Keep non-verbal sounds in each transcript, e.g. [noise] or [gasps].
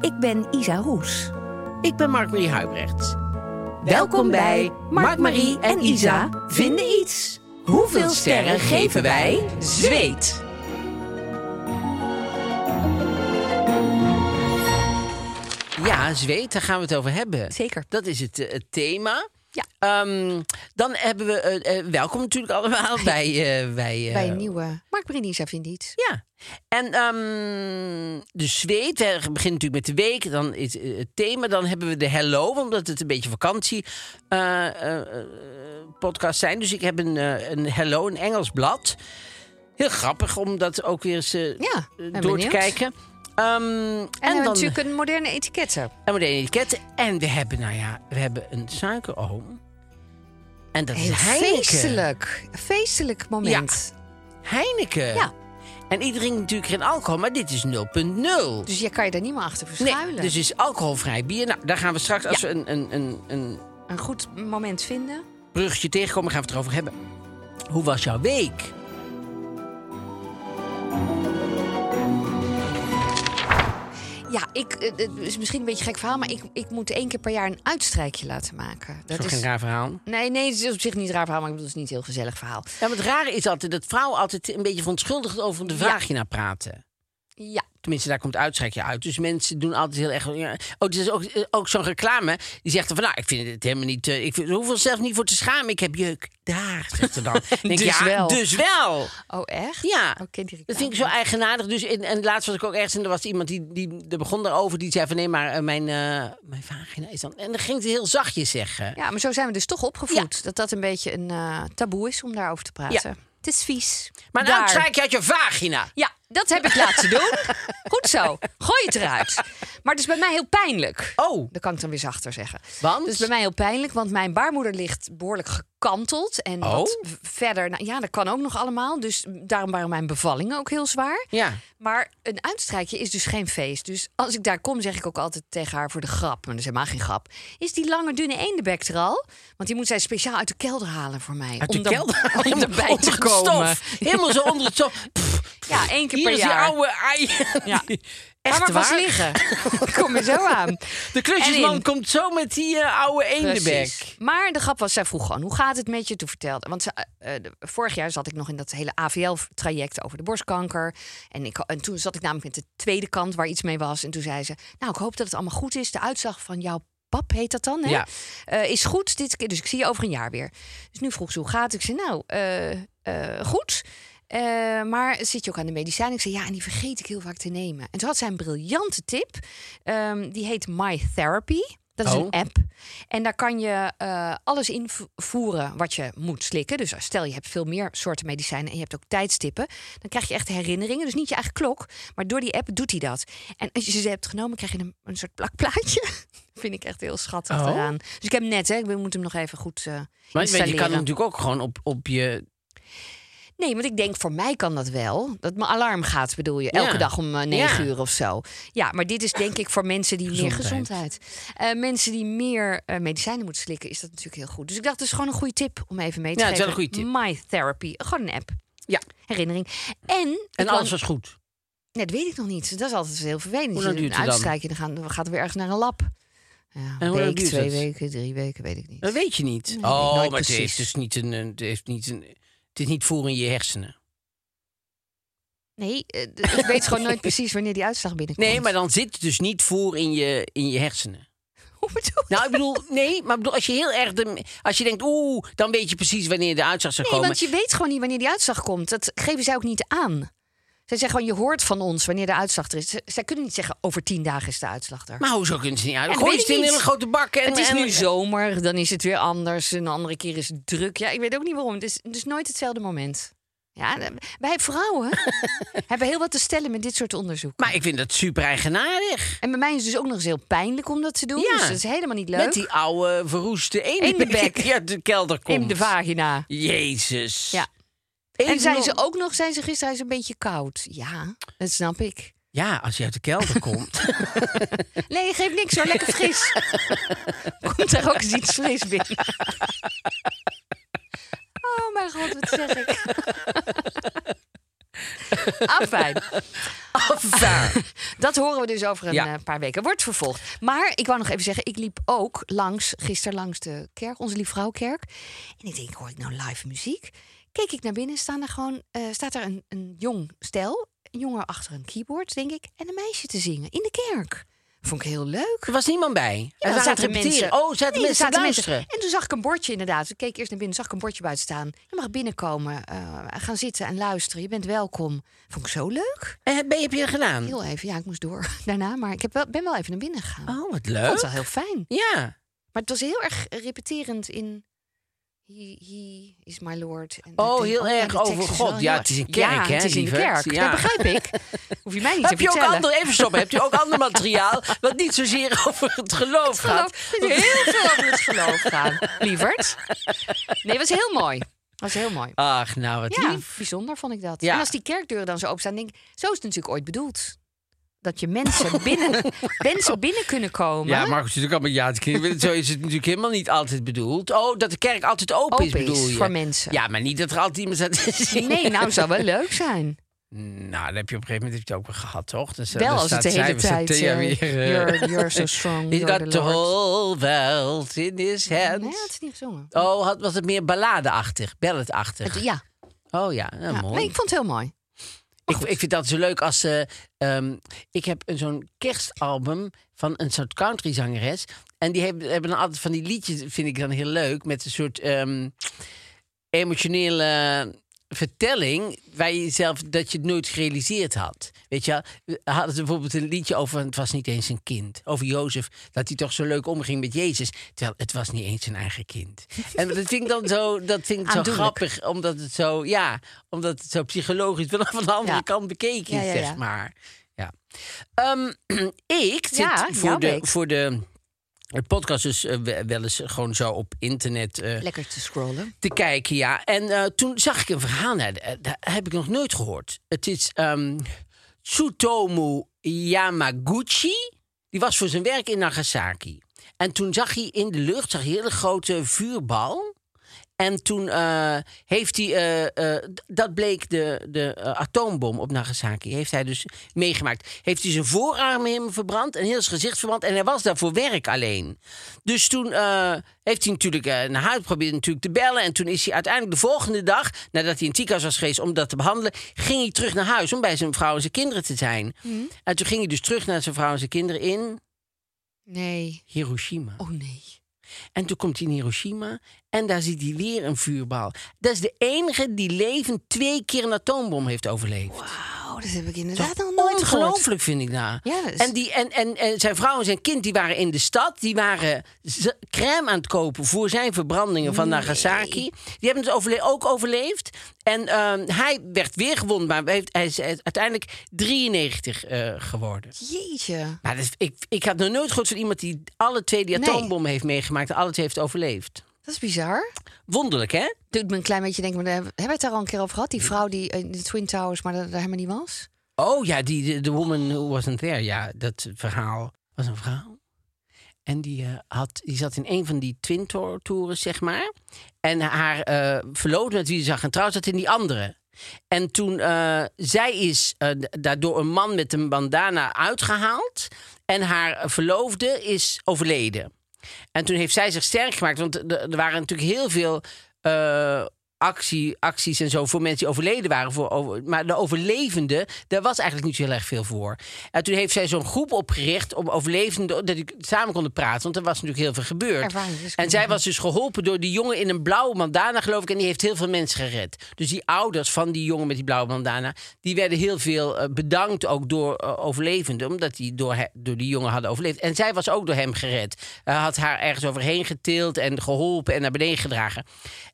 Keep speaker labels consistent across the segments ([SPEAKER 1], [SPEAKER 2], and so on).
[SPEAKER 1] Ik ben Isa Roes.
[SPEAKER 2] Ik ben Mark-Marie Huibrechts.
[SPEAKER 1] Welkom bij Mark-Marie en Isa vinden iets. Hoeveel sterren geven wij
[SPEAKER 2] Zweet? Ja, zweet, daar gaan we het over hebben.
[SPEAKER 1] Zeker.
[SPEAKER 2] Dat is het, eh, het thema.
[SPEAKER 1] Ja.
[SPEAKER 2] Ehm, dan hebben we... eh, eh, welkom natuurlijk
[SPEAKER 1] [laughs]
[SPEAKER 2] allemaal bij... eh, bij, eh,
[SPEAKER 1] Bij een nieuwe Mark-Marie en Isa vinden iets.
[SPEAKER 2] Ja. En ehm, de zweet, we beginnen natuurlijk met de week. Dan is eh, het thema. Dan hebben we de hello, omdat het een beetje vakantie eh, eh, eh, podcast zijn. Dus ik heb een, eh, een hello, een Engels blad. Heel grappig om dat ook weer eens eh,
[SPEAKER 1] Ja,
[SPEAKER 2] eh,
[SPEAKER 1] ben
[SPEAKER 2] door
[SPEAKER 1] benieuwd.
[SPEAKER 2] te kijken. Ehm, en,
[SPEAKER 1] En, we hebben
[SPEAKER 2] dan
[SPEAKER 1] natuurlijk een moderne etiketten.
[SPEAKER 2] en we etiket. En we hebben, nou ja, we hebben een suikeroom. En dat
[SPEAKER 1] Heel
[SPEAKER 2] is Heineken.
[SPEAKER 1] feestelijk. Feestelijk moment.
[SPEAKER 2] Heineken.
[SPEAKER 1] Ja.
[SPEAKER 2] En iedereen drinkt natuurlijk geen alcohol, maar dit is 0,0.
[SPEAKER 1] Dus je kan je daar niet meer achter verschuilen.
[SPEAKER 2] Nee, dus is alcoholvrij bier. Nou, daar gaan we straks, als we een, een, een, een
[SPEAKER 1] Een goed moment vinden.
[SPEAKER 2] bruggetje tegenkomen, gaan we het erover hebben. Hoe was jouw week?
[SPEAKER 1] Ja, ik, eh, het is misschien een beetje een gek verhaal, maar ik, ik moet één keer per jaar een uitstrijkje laten maken.
[SPEAKER 2] Dat is geen raar verhaal.
[SPEAKER 1] Nee, nee, het is op zich niet een raar verhaal, maar ik bedoel, het is niet een heel gezellig verhaal.
[SPEAKER 2] Ja, maar het rare is altijd dat vrouwen altijd een beetje verontschuldigd over de vagina praten.
[SPEAKER 1] Ja,
[SPEAKER 2] Tenminste, daar komt uitstrekje uit. Dus mensen doen altijd heel erg... Ja. Oh, er is ook, eh, ook zo'n reclame. Die zegt dan van, nou, ik vind het helemaal niet... eh, ik vind, hoef er zelf niet voor te schamen. Ik heb jeuk. Daar, zegt [laughs] ze dan. Dan denk ik,
[SPEAKER 1] Dus
[SPEAKER 2] ja,
[SPEAKER 1] wel.
[SPEAKER 2] Dus wel.
[SPEAKER 1] oh echt?
[SPEAKER 2] Ja,
[SPEAKER 1] Oh, ik ken die reclame
[SPEAKER 2] dat vind ik zo eigenaardig. Dus in, en laatst was ik ook ergens en er was iemand die, die er begon daarover. Die zei van nee, maar eh, mijn, eh, mijn vagina is dan... En dan ging ze heel zachtjes zeggen.
[SPEAKER 1] Ja, maar zo zijn we dus toch opgevoed. Dat dat een beetje een eh, taboe is om daarover te praten. Het is vies.
[SPEAKER 2] Maar
[SPEAKER 1] Daar.
[SPEAKER 2] nou trek je uit je vagina.
[SPEAKER 1] Ja, dat heb ik laten [laughs] doen. Goed zo. Gooi het eruit. Maar het is bij mij heel pijnlijk.
[SPEAKER 2] Oh,
[SPEAKER 1] Dat kan ik dan weer zachter zeggen.
[SPEAKER 2] want...
[SPEAKER 1] Dat is bij mij heel pijnlijk, want mijn baarmoeder ligt behoorlijk gekanteld. En wat
[SPEAKER 2] Oh.
[SPEAKER 1] v- verder, nou, ja, dat kan ook nog allemaal. Dus daarom waren mijn bevallingen ook heel zwaar.
[SPEAKER 2] Ja,
[SPEAKER 1] Maar een uitstrijkje is dus geen feest. Dus als ik daar kom, zeg ik ook altijd tegen haar voor de grap. Maar dat is helemaal geen grap. Is die lange, dunne eendebek er al? Want die moet zij speciaal uit de kelder halen voor mij.
[SPEAKER 2] uit de
[SPEAKER 1] dan-
[SPEAKER 2] [laughs] kelder.
[SPEAKER 1] [laughs] Om erbij
[SPEAKER 2] Onder
[SPEAKER 1] te
[SPEAKER 2] het
[SPEAKER 1] komen.
[SPEAKER 2] stof. Helemaal zo onder het
[SPEAKER 1] [laughs]
[SPEAKER 2] stof. Pff,
[SPEAKER 1] Ja, één keer
[SPEAKER 2] hier
[SPEAKER 1] per
[SPEAKER 2] is
[SPEAKER 1] jaar.
[SPEAKER 2] die oude ei. [laughs]
[SPEAKER 1] Ja.
[SPEAKER 2] Echt
[SPEAKER 1] Laat maar vast
[SPEAKER 2] waar? [laughs]
[SPEAKER 1] liggen. Ik kom er zo aan.
[SPEAKER 2] De
[SPEAKER 1] En in.
[SPEAKER 2] klusjesman komt zo met die eh, oude eendebek.
[SPEAKER 1] Precies. Maar de grap was, zij vroeg gewoon, hoe gaat het met je? Toen vertelde, want ze, eh, eh, de- vorig jaar zat ik nog in dat hele AVL-traject over de borstkanker. En, ik, en toen zat ik namelijk met de tweede kant waar iets mee was. En toen zei ze, nou, ik hoop dat het allemaal goed is. De uitslag van jouw pap heet dat dan, hè?
[SPEAKER 2] Ja.
[SPEAKER 1] Eh, is goed dit keer. Dus ik zie je over een jaar weer. Dus nu vroeg ze, hoe gaat het? Ik zei, nou, eh, eh, goed. Eh, maar zit je ook aan de medicijnen? Ik zei, ja, en die vergeet ik heel vaak te nemen. En toen had zij een briljante tip. Ehm, die heet My Therapy. Dat is
[SPEAKER 2] Oh.
[SPEAKER 1] een app. En daar kan je eh, alles invoeren wat je moet slikken. Dus stel je hebt veel meer soorten medicijnen en je hebt ook tijdstippen. Dan krijg je echt herinneringen. Dus niet je eigen klok, maar door die app doet hij dat. En als je ze hebt genomen, krijg je een, een soort plakplaatje. [laughs] Vind ik echt heel schattig
[SPEAKER 2] Oh.
[SPEAKER 1] eraan. Dus ik heb hem net, hè, ik moet hem nog even goed eh
[SPEAKER 2] Maar je weet, je
[SPEAKER 1] installeren.
[SPEAKER 2] kan hem natuurlijk ook gewoon op, op je...
[SPEAKER 1] Nee, want ik denk voor mij kan dat wel. Dat mijn alarm gaat, bedoel je. Elke
[SPEAKER 2] Ja.
[SPEAKER 1] dag om eh, negen
[SPEAKER 2] Ja.
[SPEAKER 1] uur of zo. Ja, maar dit is denk ik voor mensen die meer
[SPEAKER 2] Gezondheid.
[SPEAKER 1] gezondheid. eh, mensen die meer eh, medicijnen moeten slikken, is dat natuurlijk heel goed. Dus ik dacht, het is gewoon een goede tip om even mee te
[SPEAKER 2] Ja, het is
[SPEAKER 1] geven.
[SPEAKER 2] wel een goede
[SPEAKER 1] My Therapy. Gewoon een app.
[SPEAKER 2] Ja.
[SPEAKER 1] Herinnering. En, ik
[SPEAKER 2] En
[SPEAKER 1] kwam-
[SPEAKER 2] alles was goed.
[SPEAKER 1] Nee, dat weet ik nog niet. Dat is altijd heel vervelend.
[SPEAKER 2] Hoe lang
[SPEAKER 1] Je doet
[SPEAKER 2] duurt
[SPEAKER 1] een
[SPEAKER 2] het dan?
[SPEAKER 1] uitstrijkje, dan gaan, dan gaat er weer ergens naar een lab. Ja,
[SPEAKER 2] En hoe
[SPEAKER 1] een
[SPEAKER 2] lang
[SPEAKER 1] week,
[SPEAKER 2] duurt
[SPEAKER 1] twee
[SPEAKER 2] het?
[SPEAKER 1] weken, drie weken, weet ik niet.
[SPEAKER 2] Dat weet je niet.
[SPEAKER 1] weet ik
[SPEAKER 2] oh,
[SPEAKER 1] nooit
[SPEAKER 2] maar het
[SPEAKER 1] precies.
[SPEAKER 2] heeft dus niet een, een- het heeft niet een Het is niet voer in je hersenen.
[SPEAKER 1] Nee, eh, d- ik weet
[SPEAKER 2] [laughs]
[SPEAKER 1] gewoon nooit precies wanneer die uitslag binnenkomt.
[SPEAKER 2] Nee, maar dan zit het dus niet voer in je, in je hersenen.
[SPEAKER 1] [laughs] Hoe bedoel je?
[SPEAKER 2] Nou, ik bedoel, nee, maar ik bedoel, als je heel erg. De, als je denkt, oeh, dan weet je precies wanneer de uitslag zou
[SPEAKER 1] Nee,
[SPEAKER 2] komen.
[SPEAKER 1] want je weet gewoon niet wanneer die uitslag komt. Dat geven zij ook niet aan. Zij zeggen gewoon, je hoort van ons wanneer de uitslag er is. Z- Zij kunnen niet zeggen, over tien dagen is de uitslag er.
[SPEAKER 2] Maar hoezo kunnen ze niet uit?
[SPEAKER 1] Ja, dat
[SPEAKER 2] Gooi
[SPEAKER 1] weet
[SPEAKER 2] het
[SPEAKER 1] ik
[SPEAKER 2] in een
[SPEAKER 1] niet.
[SPEAKER 2] hele grote bak. En,
[SPEAKER 1] het is
[SPEAKER 2] en-
[SPEAKER 1] nu zomer, dan is het weer anders. Een andere keer is het druk. Ja, ik weet ook niet waarom. Het is dus nooit hetzelfde moment. Ja, eh, wij
[SPEAKER 2] [laughs]
[SPEAKER 1] vrouwen hebben heel wat te stellen met dit soort onderzoek.
[SPEAKER 2] Maar ik vind dat super eigenaardig.
[SPEAKER 1] En bij mij is het dus ook nog eens heel pijnlijk om dat te doen.
[SPEAKER 2] Ja.
[SPEAKER 1] Dus dat is helemaal niet leuk.
[SPEAKER 2] Met die oude verroeste eendebek [laughs]
[SPEAKER 1] Eendebek.
[SPEAKER 2] die uit de kelder komt.
[SPEAKER 1] In de vagina.
[SPEAKER 2] Jezus.
[SPEAKER 1] Ja.
[SPEAKER 2] Even
[SPEAKER 1] en zijn
[SPEAKER 2] nog-
[SPEAKER 1] ze ook nog, zijn ze gisteren een beetje koud? Ja, dat snap ik.
[SPEAKER 2] Ja, als je uit de kelder
[SPEAKER 1] [laughs]
[SPEAKER 2] komt.
[SPEAKER 1] Nee, geeft niks hoor, lekker fris. Komt er ook eens iets fris binnen? Oh mijn god, wat zeg ik? Afijn. Afijn. Dat horen we dus over een
[SPEAKER 2] Ja.
[SPEAKER 1] eh, paar weken. Wordt vervolgd. Maar ik wou nog even zeggen, ik liep ook langs, gisteren langs de kerk, onze Lieve Vrouwkerk. En ik denk, hoor ik nou live muziek? Keek ik naar binnen, staan er gewoon, eh, staat er een, een jong stel, een jongen achter een keyboard, denk ik, en een meisje te zingen in de kerk. Vond ik heel leuk.
[SPEAKER 2] er was niemand bij.
[SPEAKER 1] Ja,
[SPEAKER 2] er
[SPEAKER 1] dan
[SPEAKER 2] zaten
[SPEAKER 1] zaten
[SPEAKER 2] repeteren.
[SPEAKER 1] mensen.
[SPEAKER 2] Oh, zaten
[SPEAKER 1] Nee, er
[SPEAKER 2] mensen te
[SPEAKER 1] zaten
[SPEAKER 2] luisteren.
[SPEAKER 1] mensen. En toen zag ik een bordje inderdaad. Ik keek eerst naar binnen, zag ik een bordje buiten staan. Je mag binnenkomen, eh, gaan zitten en luisteren. Je bent welkom. Vond ik zo leuk.
[SPEAKER 2] En Eh, ben, heb je dat gedaan?
[SPEAKER 1] Heel even, ja, ik moest door [laughs] daarna. Maar ik heb wel, ben wel even naar binnen gegaan.
[SPEAKER 2] Oh, wat
[SPEAKER 1] Vond het
[SPEAKER 2] leuk.
[SPEAKER 1] wel heel fijn.
[SPEAKER 2] Ja.
[SPEAKER 1] Maar het was heel erg repeterend in... He, he is my lord. En dat
[SPEAKER 2] Oh,
[SPEAKER 1] denk-
[SPEAKER 2] heel
[SPEAKER 1] ja,
[SPEAKER 2] erg
[SPEAKER 1] de tekst
[SPEAKER 2] over
[SPEAKER 1] is
[SPEAKER 2] God.
[SPEAKER 1] wel
[SPEAKER 2] Ja,
[SPEAKER 1] heel
[SPEAKER 2] het is een
[SPEAKER 1] erg-
[SPEAKER 2] kerk,
[SPEAKER 1] ja,
[SPEAKER 2] hè,
[SPEAKER 1] het is in de
[SPEAKER 2] lieverd?
[SPEAKER 1] kerk.
[SPEAKER 2] Ja.
[SPEAKER 1] Dat begrijp
[SPEAKER 2] [laughs]
[SPEAKER 1] ik. Hoef je mij niet
[SPEAKER 2] heb
[SPEAKER 1] te
[SPEAKER 2] je ook
[SPEAKER 1] vertellen.
[SPEAKER 2] ander, even stoppen, heb je ook ander materiaal wat niet zozeer over het geloof, gaat?
[SPEAKER 1] geloof. Er is heel veel over het geloof gaan, lieverd. Nee, was heel mooi. Was heel mooi.
[SPEAKER 2] Ach, nou wat
[SPEAKER 1] Ja,
[SPEAKER 2] lief.
[SPEAKER 1] bijzonder vond ik dat.
[SPEAKER 2] Ja.
[SPEAKER 1] En als die kerkdeuren dan zo openstaan, denk ik, zo is het natuurlijk ooit bedoeld. Dat je mensen
[SPEAKER 2] [laughs]
[SPEAKER 1] binnen, mensen binnen kunnen komen.
[SPEAKER 2] Ja, Marcus, natuurlijk allemaal ja te [laughs] knikken. Zo is het natuurlijk helemaal niet altijd bedoeld. Oh, dat de kerk altijd open,
[SPEAKER 1] Open
[SPEAKER 2] is,
[SPEAKER 1] is
[SPEAKER 2] bedoel je?
[SPEAKER 1] voor mensen.
[SPEAKER 2] Ja, maar niet dat er altijd iemand staat te zingen.
[SPEAKER 1] [laughs] Nee, nou zou wel leuk zijn.
[SPEAKER 2] [laughs] Nou, dan heb je op een gegeven moment heb je het ook wel gehad, toch? Dus, eh,
[SPEAKER 1] wel
[SPEAKER 2] dan
[SPEAKER 1] als het
[SPEAKER 2] staat
[SPEAKER 1] de hele
[SPEAKER 2] zij-
[SPEAKER 1] tijd.
[SPEAKER 2] we staat Thea
[SPEAKER 1] eh,
[SPEAKER 2] weer, eh,
[SPEAKER 1] you're,
[SPEAKER 2] [laughs]
[SPEAKER 1] you're so strong.
[SPEAKER 2] He's
[SPEAKER 1] You're
[SPEAKER 2] got
[SPEAKER 1] the
[SPEAKER 2] the
[SPEAKER 1] Lord.
[SPEAKER 2] whole world in his hands.
[SPEAKER 1] Nee, had ze niet gezongen.
[SPEAKER 2] Oh, had, was het meer balladeachtig,
[SPEAKER 1] Het-
[SPEAKER 2] balladachtig?
[SPEAKER 1] ja,
[SPEAKER 2] Oh ja, nou,
[SPEAKER 1] ja.
[SPEAKER 2] mooi.
[SPEAKER 1] Nee, ik vond het heel mooi.
[SPEAKER 2] Ik, ik vind dat zo leuk als ze. ehm, ik heb een- zo'n kerstalbum van een soort country zangeres. En die hebben, hebben dan altijd van die liedjes, vind ik dan heel leuk. Met een soort ehm, emotionele vertelling. Waar je zelf dat je het nooit gerealiseerd had. Weet je, wel? Eh, hadden ze bijvoorbeeld een liedje over. Het was niet eens een kind. Over Jozef. Dat hij toch zo leuk omging met Jezus. Terwijl het was niet eens zijn eigen kind. En dat vind ik dan zo, dat vind ik zo
[SPEAKER 1] Aandoenlijk.
[SPEAKER 2] grappig. Omdat het zo, ja, omdat het zo psychologisch [laughs] vanaf een andere
[SPEAKER 1] Ja.
[SPEAKER 2] kant bekeken is,
[SPEAKER 1] Ja, ja, ja.
[SPEAKER 2] zeg maar. Ja. Ehm, [clears throat] ik zit
[SPEAKER 1] Ja, jouw
[SPEAKER 2] voor, de,
[SPEAKER 1] week.
[SPEAKER 2] voor de de podcast dus eh, we- wel eens gewoon zo op internet eh,
[SPEAKER 1] Lekker te scrollen.
[SPEAKER 2] te kijken, ja. En eh, toen zag ik een verhaal, nou, eh, dat heb ik nog nooit gehoord. Het is ehm Tsutomu Yamaguchi. Die was voor zijn werk in Nagasaki. En toen zag hij in de lucht zag hij een hele grote vuurbal. En toen eh, heeft hij, eh, eh, d- dat bleek de, de eh, atoombom op Nagasaki, heeft hij dus meegemaakt. Heeft hij zijn voorarm helemaal verbrand en heel zijn gezicht verbrand. En hij was daar voor werk alleen. Dus toen eh, heeft hij natuurlijk eh, naar huis geprobeerd natuurlijk te bellen. En toen is hij uiteindelijk de volgende dag, nadat hij in het ziekenhuis was geweest om dat te behandelen, ging hij terug naar huis om bij zijn vrouw en zijn kinderen te zijn. En toen ging hij dus terug naar zijn vrouw en zijn kinderen in
[SPEAKER 1] Nee.
[SPEAKER 2] Hiroshima.
[SPEAKER 1] Oh nee.
[SPEAKER 2] En toen komt hij in Hiroshima en daar ziet hij weer een vuurbal. Dat is de enige die levend twee keer een atoombom heeft overleefd.
[SPEAKER 1] Wauw, dat heb ik inderdaad
[SPEAKER 2] Dat
[SPEAKER 1] nog
[SPEAKER 2] is
[SPEAKER 1] nooit geloofd.
[SPEAKER 2] Ongelooflijk vind ik daar.
[SPEAKER 1] Ja, dat is-
[SPEAKER 2] En, die, en, en, en zijn vrouw en zijn kind die waren in de stad. Die waren z- crème aan het kopen voor zijn verbrandingen van Nagasaki. Die hebben het overle- ook overleefd. En ehm, hij werd weer gewond, maar hij heeft, hij is eh, uiteindelijk 93 eh, geworden.
[SPEAKER 1] Jeetje.
[SPEAKER 2] Maar dat is- ik, ik had nog nooit gehoord van iemand die alle twee die
[SPEAKER 1] Nee.
[SPEAKER 2] atoombom heeft meegemaakt en alle twee heeft overleefd.
[SPEAKER 1] Dat is bizar.
[SPEAKER 2] Wonderlijk, hè?
[SPEAKER 1] Doet me een klein beetje denken, maar daar hebben we het daar al een keer over gehad. Die vrouw die in de Twin Towers, maar daar daar helemaal niet was.
[SPEAKER 2] Oh ja, die, de, de woman who wasn't there. Ja, dat verhaal was een verhaal. En die, eh, had, die zat in een van die twin to- toeren, zeg maar. En haar eh verloofde met wie ze zag en trouw zat in die andere. En toen, eh, zij is eh, da- daardoor een man met een bandana uitgehaald. En haar verloofde is overleden. En toen heeft zij zich sterk gemaakt. Want er er waren natuurlijk heel veel eh, actie, acties en zo voor mensen die overleden waren. Voor over, maar de overlevenden, daar was eigenlijk niet zo heel erg veel voor. En toen heeft zij zo'n groep opgericht om overlevenden, dat die samen konden praten. Want er was natuurlijk heel veel gebeurd.
[SPEAKER 1] Er waren dus-
[SPEAKER 2] en zij was dus geholpen door die jongen in een blauwe bandana, geloof ik. En die heeft heel veel mensen gered. Dus die ouders van die jongen met die blauwe bandana, die werden heel veel eh, bedankt ook door eh, overlevenden. Omdat die door, he- door die jongen hadden overleefd. En zij was ook door hem gered. Hij had haar ergens overheen getild en geholpen en naar beneden gedragen.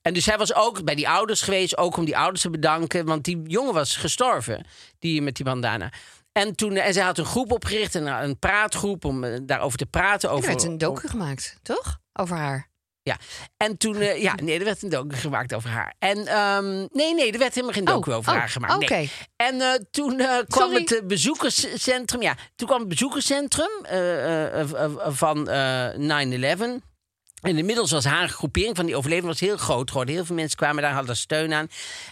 [SPEAKER 2] En dus zij was ook bij die ouders geweest, ook om die ouders te bedanken. Want die jongen was gestorven, die met die bandana. En, toen, en zij had een groep opgericht, een, een praatgroep om eh, daarover te praten.
[SPEAKER 1] Er
[SPEAKER 2] Over,
[SPEAKER 1] werd een docu gemaakt, toch? Over haar.
[SPEAKER 2] ja, en toen, eh, ja, nee, er werd een docu gemaakt over haar. En ehm, nee, nee, er werd helemaal geen docu
[SPEAKER 1] Oh,
[SPEAKER 2] over
[SPEAKER 1] oh,
[SPEAKER 2] haar gemaakt. nee.
[SPEAKER 1] oké.
[SPEAKER 2] En eh, toen eh, kwam
[SPEAKER 1] Sorry.
[SPEAKER 2] het eh, bezoekerscentrum, ja, toen kwam het bezoekerscentrum eh, eh, eh, van eh 9-11. En inmiddels was haar groepering van die overlevenden was heel groot geworden. Heel veel mensen kwamen daar, hadden daar steun aan.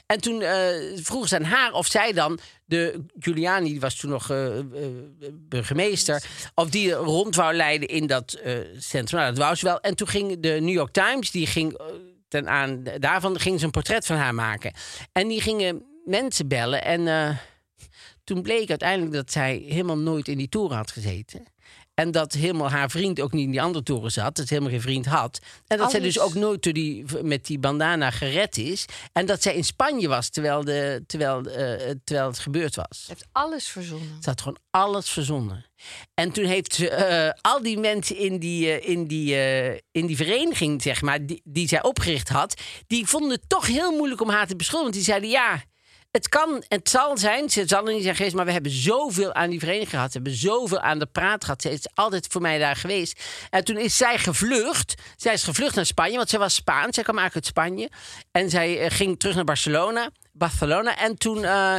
[SPEAKER 2] En toen eh vroegen ze aan haar of zij dan de Giuliani, die was toen nog eh, eh, burgemeester, of die rond wou leiden in dat eh, centrum. Nou, dat wou ze wel. En toen ging de New York Times, die ging eh, ten aan daarvan ging ze een portret van haar maken. En die gingen mensen bellen en eh, toen bleek uiteindelijk dat zij helemaal nooit in die toren had gezeten. En dat helemaal haar vriend ook niet in die andere toren zat. Dat ze helemaal geen vriend had. En dat zij
[SPEAKER 1] Alles.
[SPEAKER 2] dus ook nooit door die, met die bandana gered is. En dat zij in Spanje was terwijl, de, terwijl, eh, terwijl het gebeurd was.
[SPEAKER 1] Ze heeft alles verzonnen.
[SPEAKER 2] Ze had gewoon alles verzonnen. En toen heeft ze eh, al die mensen in die, eh, in, die, eh, in die vereniging, zeg maar, die, die zij opgericht had, die vonden het toch heel moeilijk om haar te beschuldigen. Want die zeiden ja. Het kan, het zal zijn, ze zal er niet zijn geweest, maar we hebben zoveel aan die vereniging gehad. We hebben zoveel aan de praat gehad. Ze is altijd voor mij daar geweest. En toen is zij gevlucht. Zij is gevlucht naar Spanje, want zij was Spaans. Zij kwam eigenlijk uit Spanje. En zij eh, ging terug naar Barcelona. Barcelona. En toen eh,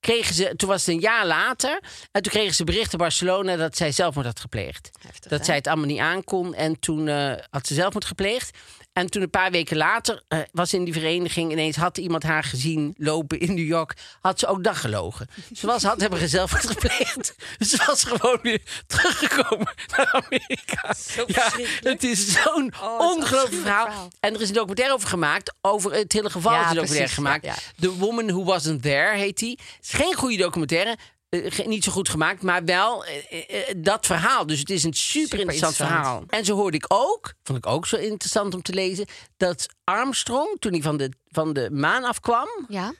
[SPEAKER 2] kregen ze, toen was het een jaar later. En toen kregen ze bericht in Barcelona dat zij zelfmoord had gepleegd.
[SPEAKER 1] Heftig,
[SPEAKER 2] dat
[SPEAKER 1] hè?
[SPEAKER 2] zij het allemaal niet aankon. En toen eh, had ze zelfmoord gepleegd. En toen een paar weken later eh, was in die vereniging ineens had iemand haar gezien lopen in New York. Had ze ook dag gelogen. Ze was, had hebben ze zelfmoord gepleegd. [laughs] Ze was gewoon weer teruggekomen naar Amerika. ja, het is
[SPEAKER 1] Oh,
[SPEAKER 2] zo'n ongelooflijk verhaal.
[SPEAKER 1] verhaal.
[SPEAKER 2] En er is een documentaire over gemaakt. Over het hele geval
[SPEAKER 1] Ja,
[SPEAKER 2] is een documentaire
[SPEAKER 1] precies,
[SPEAKER 2] gemaakt.
[SPEAKER 1] ja, ja.
[SPEAKER 2] The Woman Who Wasn't There heet die. Het is geen goede documentaire. eh, ge- niet zo goed gemaakt, maar wel eh, eh, eh, dat verhaal. Dus het is een super, interessant,
[SPEAKER 1] interessant.
[SPEAKER 2] verhaal. En zo hoorde ik ook, vond ik ook zo interessant om te lezen, dat Armstrong, toen hij van de, van de maan afkwam,
[SPEAKER 1] Ja?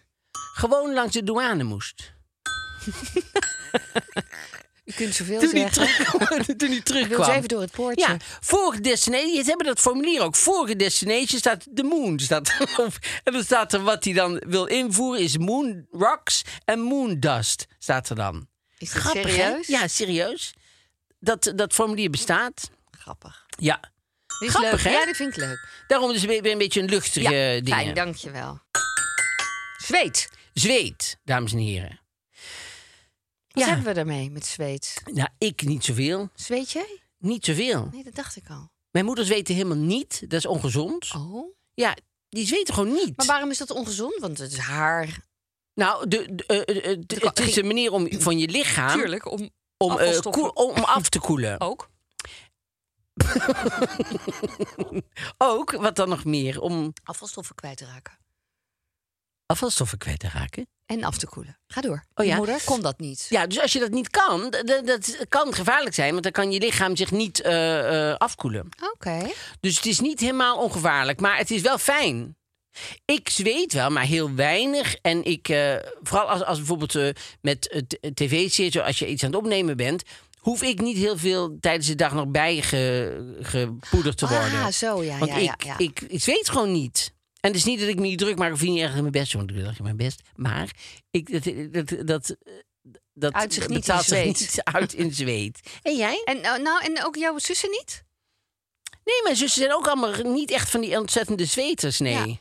[SPEAKER 2] gewoon langs de douane moest.
[SPEAKER 1] U kunt zoveel
[SPEAKER 2] Toen hij,
[SPEAKER 1] zeggen.
[SPEAKER 2] terug, [laughs] toen hij
[SPEAKER 1] Ik wil eens
[SPEAKER 2] terugkwam.
[SPEAKER 1] even door het poortje.
[SPEAKER 2] Ja, vorige destination, ze hebben dat formulier ook. Vorige destination staat de moon. Staat erop. en dan staat er wat hij dan wil invoeren is moon rocks en moon dust. Staat er dan.
[SPEAKER 1] Is dit
[SPEAKER 2] Grappig, hè?
[SPEAKER 1] serieus?
[SPEAKER 2] Ja, serieus. Dat, dat formulier bestaat.
[SPEAKER 1] Grappig.
[SPEAKER 2] Ja.
[SPEAKER 1] Dit is
[SPEAKER 2] Grappig,
[SPEAKER 1] leuk.
[SPEAKER 2] hè?
[SPEAKER 1] Ja, dit vind ik leuk.
[SPEAKER 2] Daarom is het weer weer een beetje een luchtige
[SPEAKER 1] ja,
[SPEAKER 2] ding.
[SPEAKER 1] fijn, dankjewel. Zweet.
[SPEAKER 2] Zweet, dames en heren.
[SPEAKER 1] Wat
[SPEAKER 2] Ja.
[SPEAKER 1] hebben we daarmee met zweet?
[SPEAKER 2] Nou, ik niet zoveel.
[SPEAKER 1] Zweet jij?
[SPEAKER 2] Niet zoveel.
[SPEAKER 1] Nee, dat dacht ik al.
[SPEAKER 2] Mijn moeders weten helemaal niet. Dat is ongezond.
[SPEAKER 1] Oh.
[SPEAKER 2] Ja, die zweten gewoon niet.
[SPEAKER 1] Maar waarom is dat ongezond? Want het is haar.
[SPEAKER 2] Nou, de, de- eh, eh, eh, de- het is een manier om van je lichaam
[SPEAKER 1] om
[SPEAKER 2] om, eh,
[SPEAKER 1] afvalstoffen. Oh.
[SPEAKER 2] koel- om af te koelen.
[SPEAKER 1] ook.
[SPEAKER 2] Ook, wat dan nog meer, om
[SPEAKER 1] Afvalstoffen kwijt te raken.
[SPEAKER 2] afvalstoffen kwijt te raken.
[SPEAKER 1] En af te koelen. Ga door.
[SPEAKER 2] Oh ja.
[SPEAKER 1] Je Moeder, kon dat niet.
[SPEAKER 2] Ja, dus als je dat niet kan, d- d- dat kan gevaarlijk zijn, want dan kan je lichaam zich niet eh, eh, afkoelen.
[SPEAKER 1] Oké.
[SPEAKER 2] Dus het is niet helemaal ongevaarlijk, maar het is wel fijn. Ik zweet wel, maar heel weinig. En ik, eh, vooral als, als bijvoorbeeld eh, met eh, t- tv-series, als je iets aan het opnemen bent, hoef ik niet heel veel tijdens de dag nog bijgepoederd gepoederd te worden.
[SPEAKER 1] Ah, zo, ja,
[SPEAKER 2] Want
[SPEAKER 1] ja,
[SPEAKER 2] ik,
[SPEAKER 1] ja, ja.
[SPEAKER 2] Ik, ik zweet gewoon niet. En het is niet dat ik me niet druk maak of niet erg mijn best doe, want ik doe erg mijn best. Maar ik, dat, dat, dat, dat
[SPEAKER 1] Uit zich niet in
[SPEAKER 2] betaalt zich
[SPEAKER 1] zweet.
[SPEAKER 2] niet uit in zweet. En jij?
[SPEAKER 1] En, nou, nou, en ook jouw zussen niet?
[SPEAKER 2] Nee, mijn zussen zijn ook allemaal niet echt van die ontzettende zweters, nee.
[SPEAKER 1] Ja.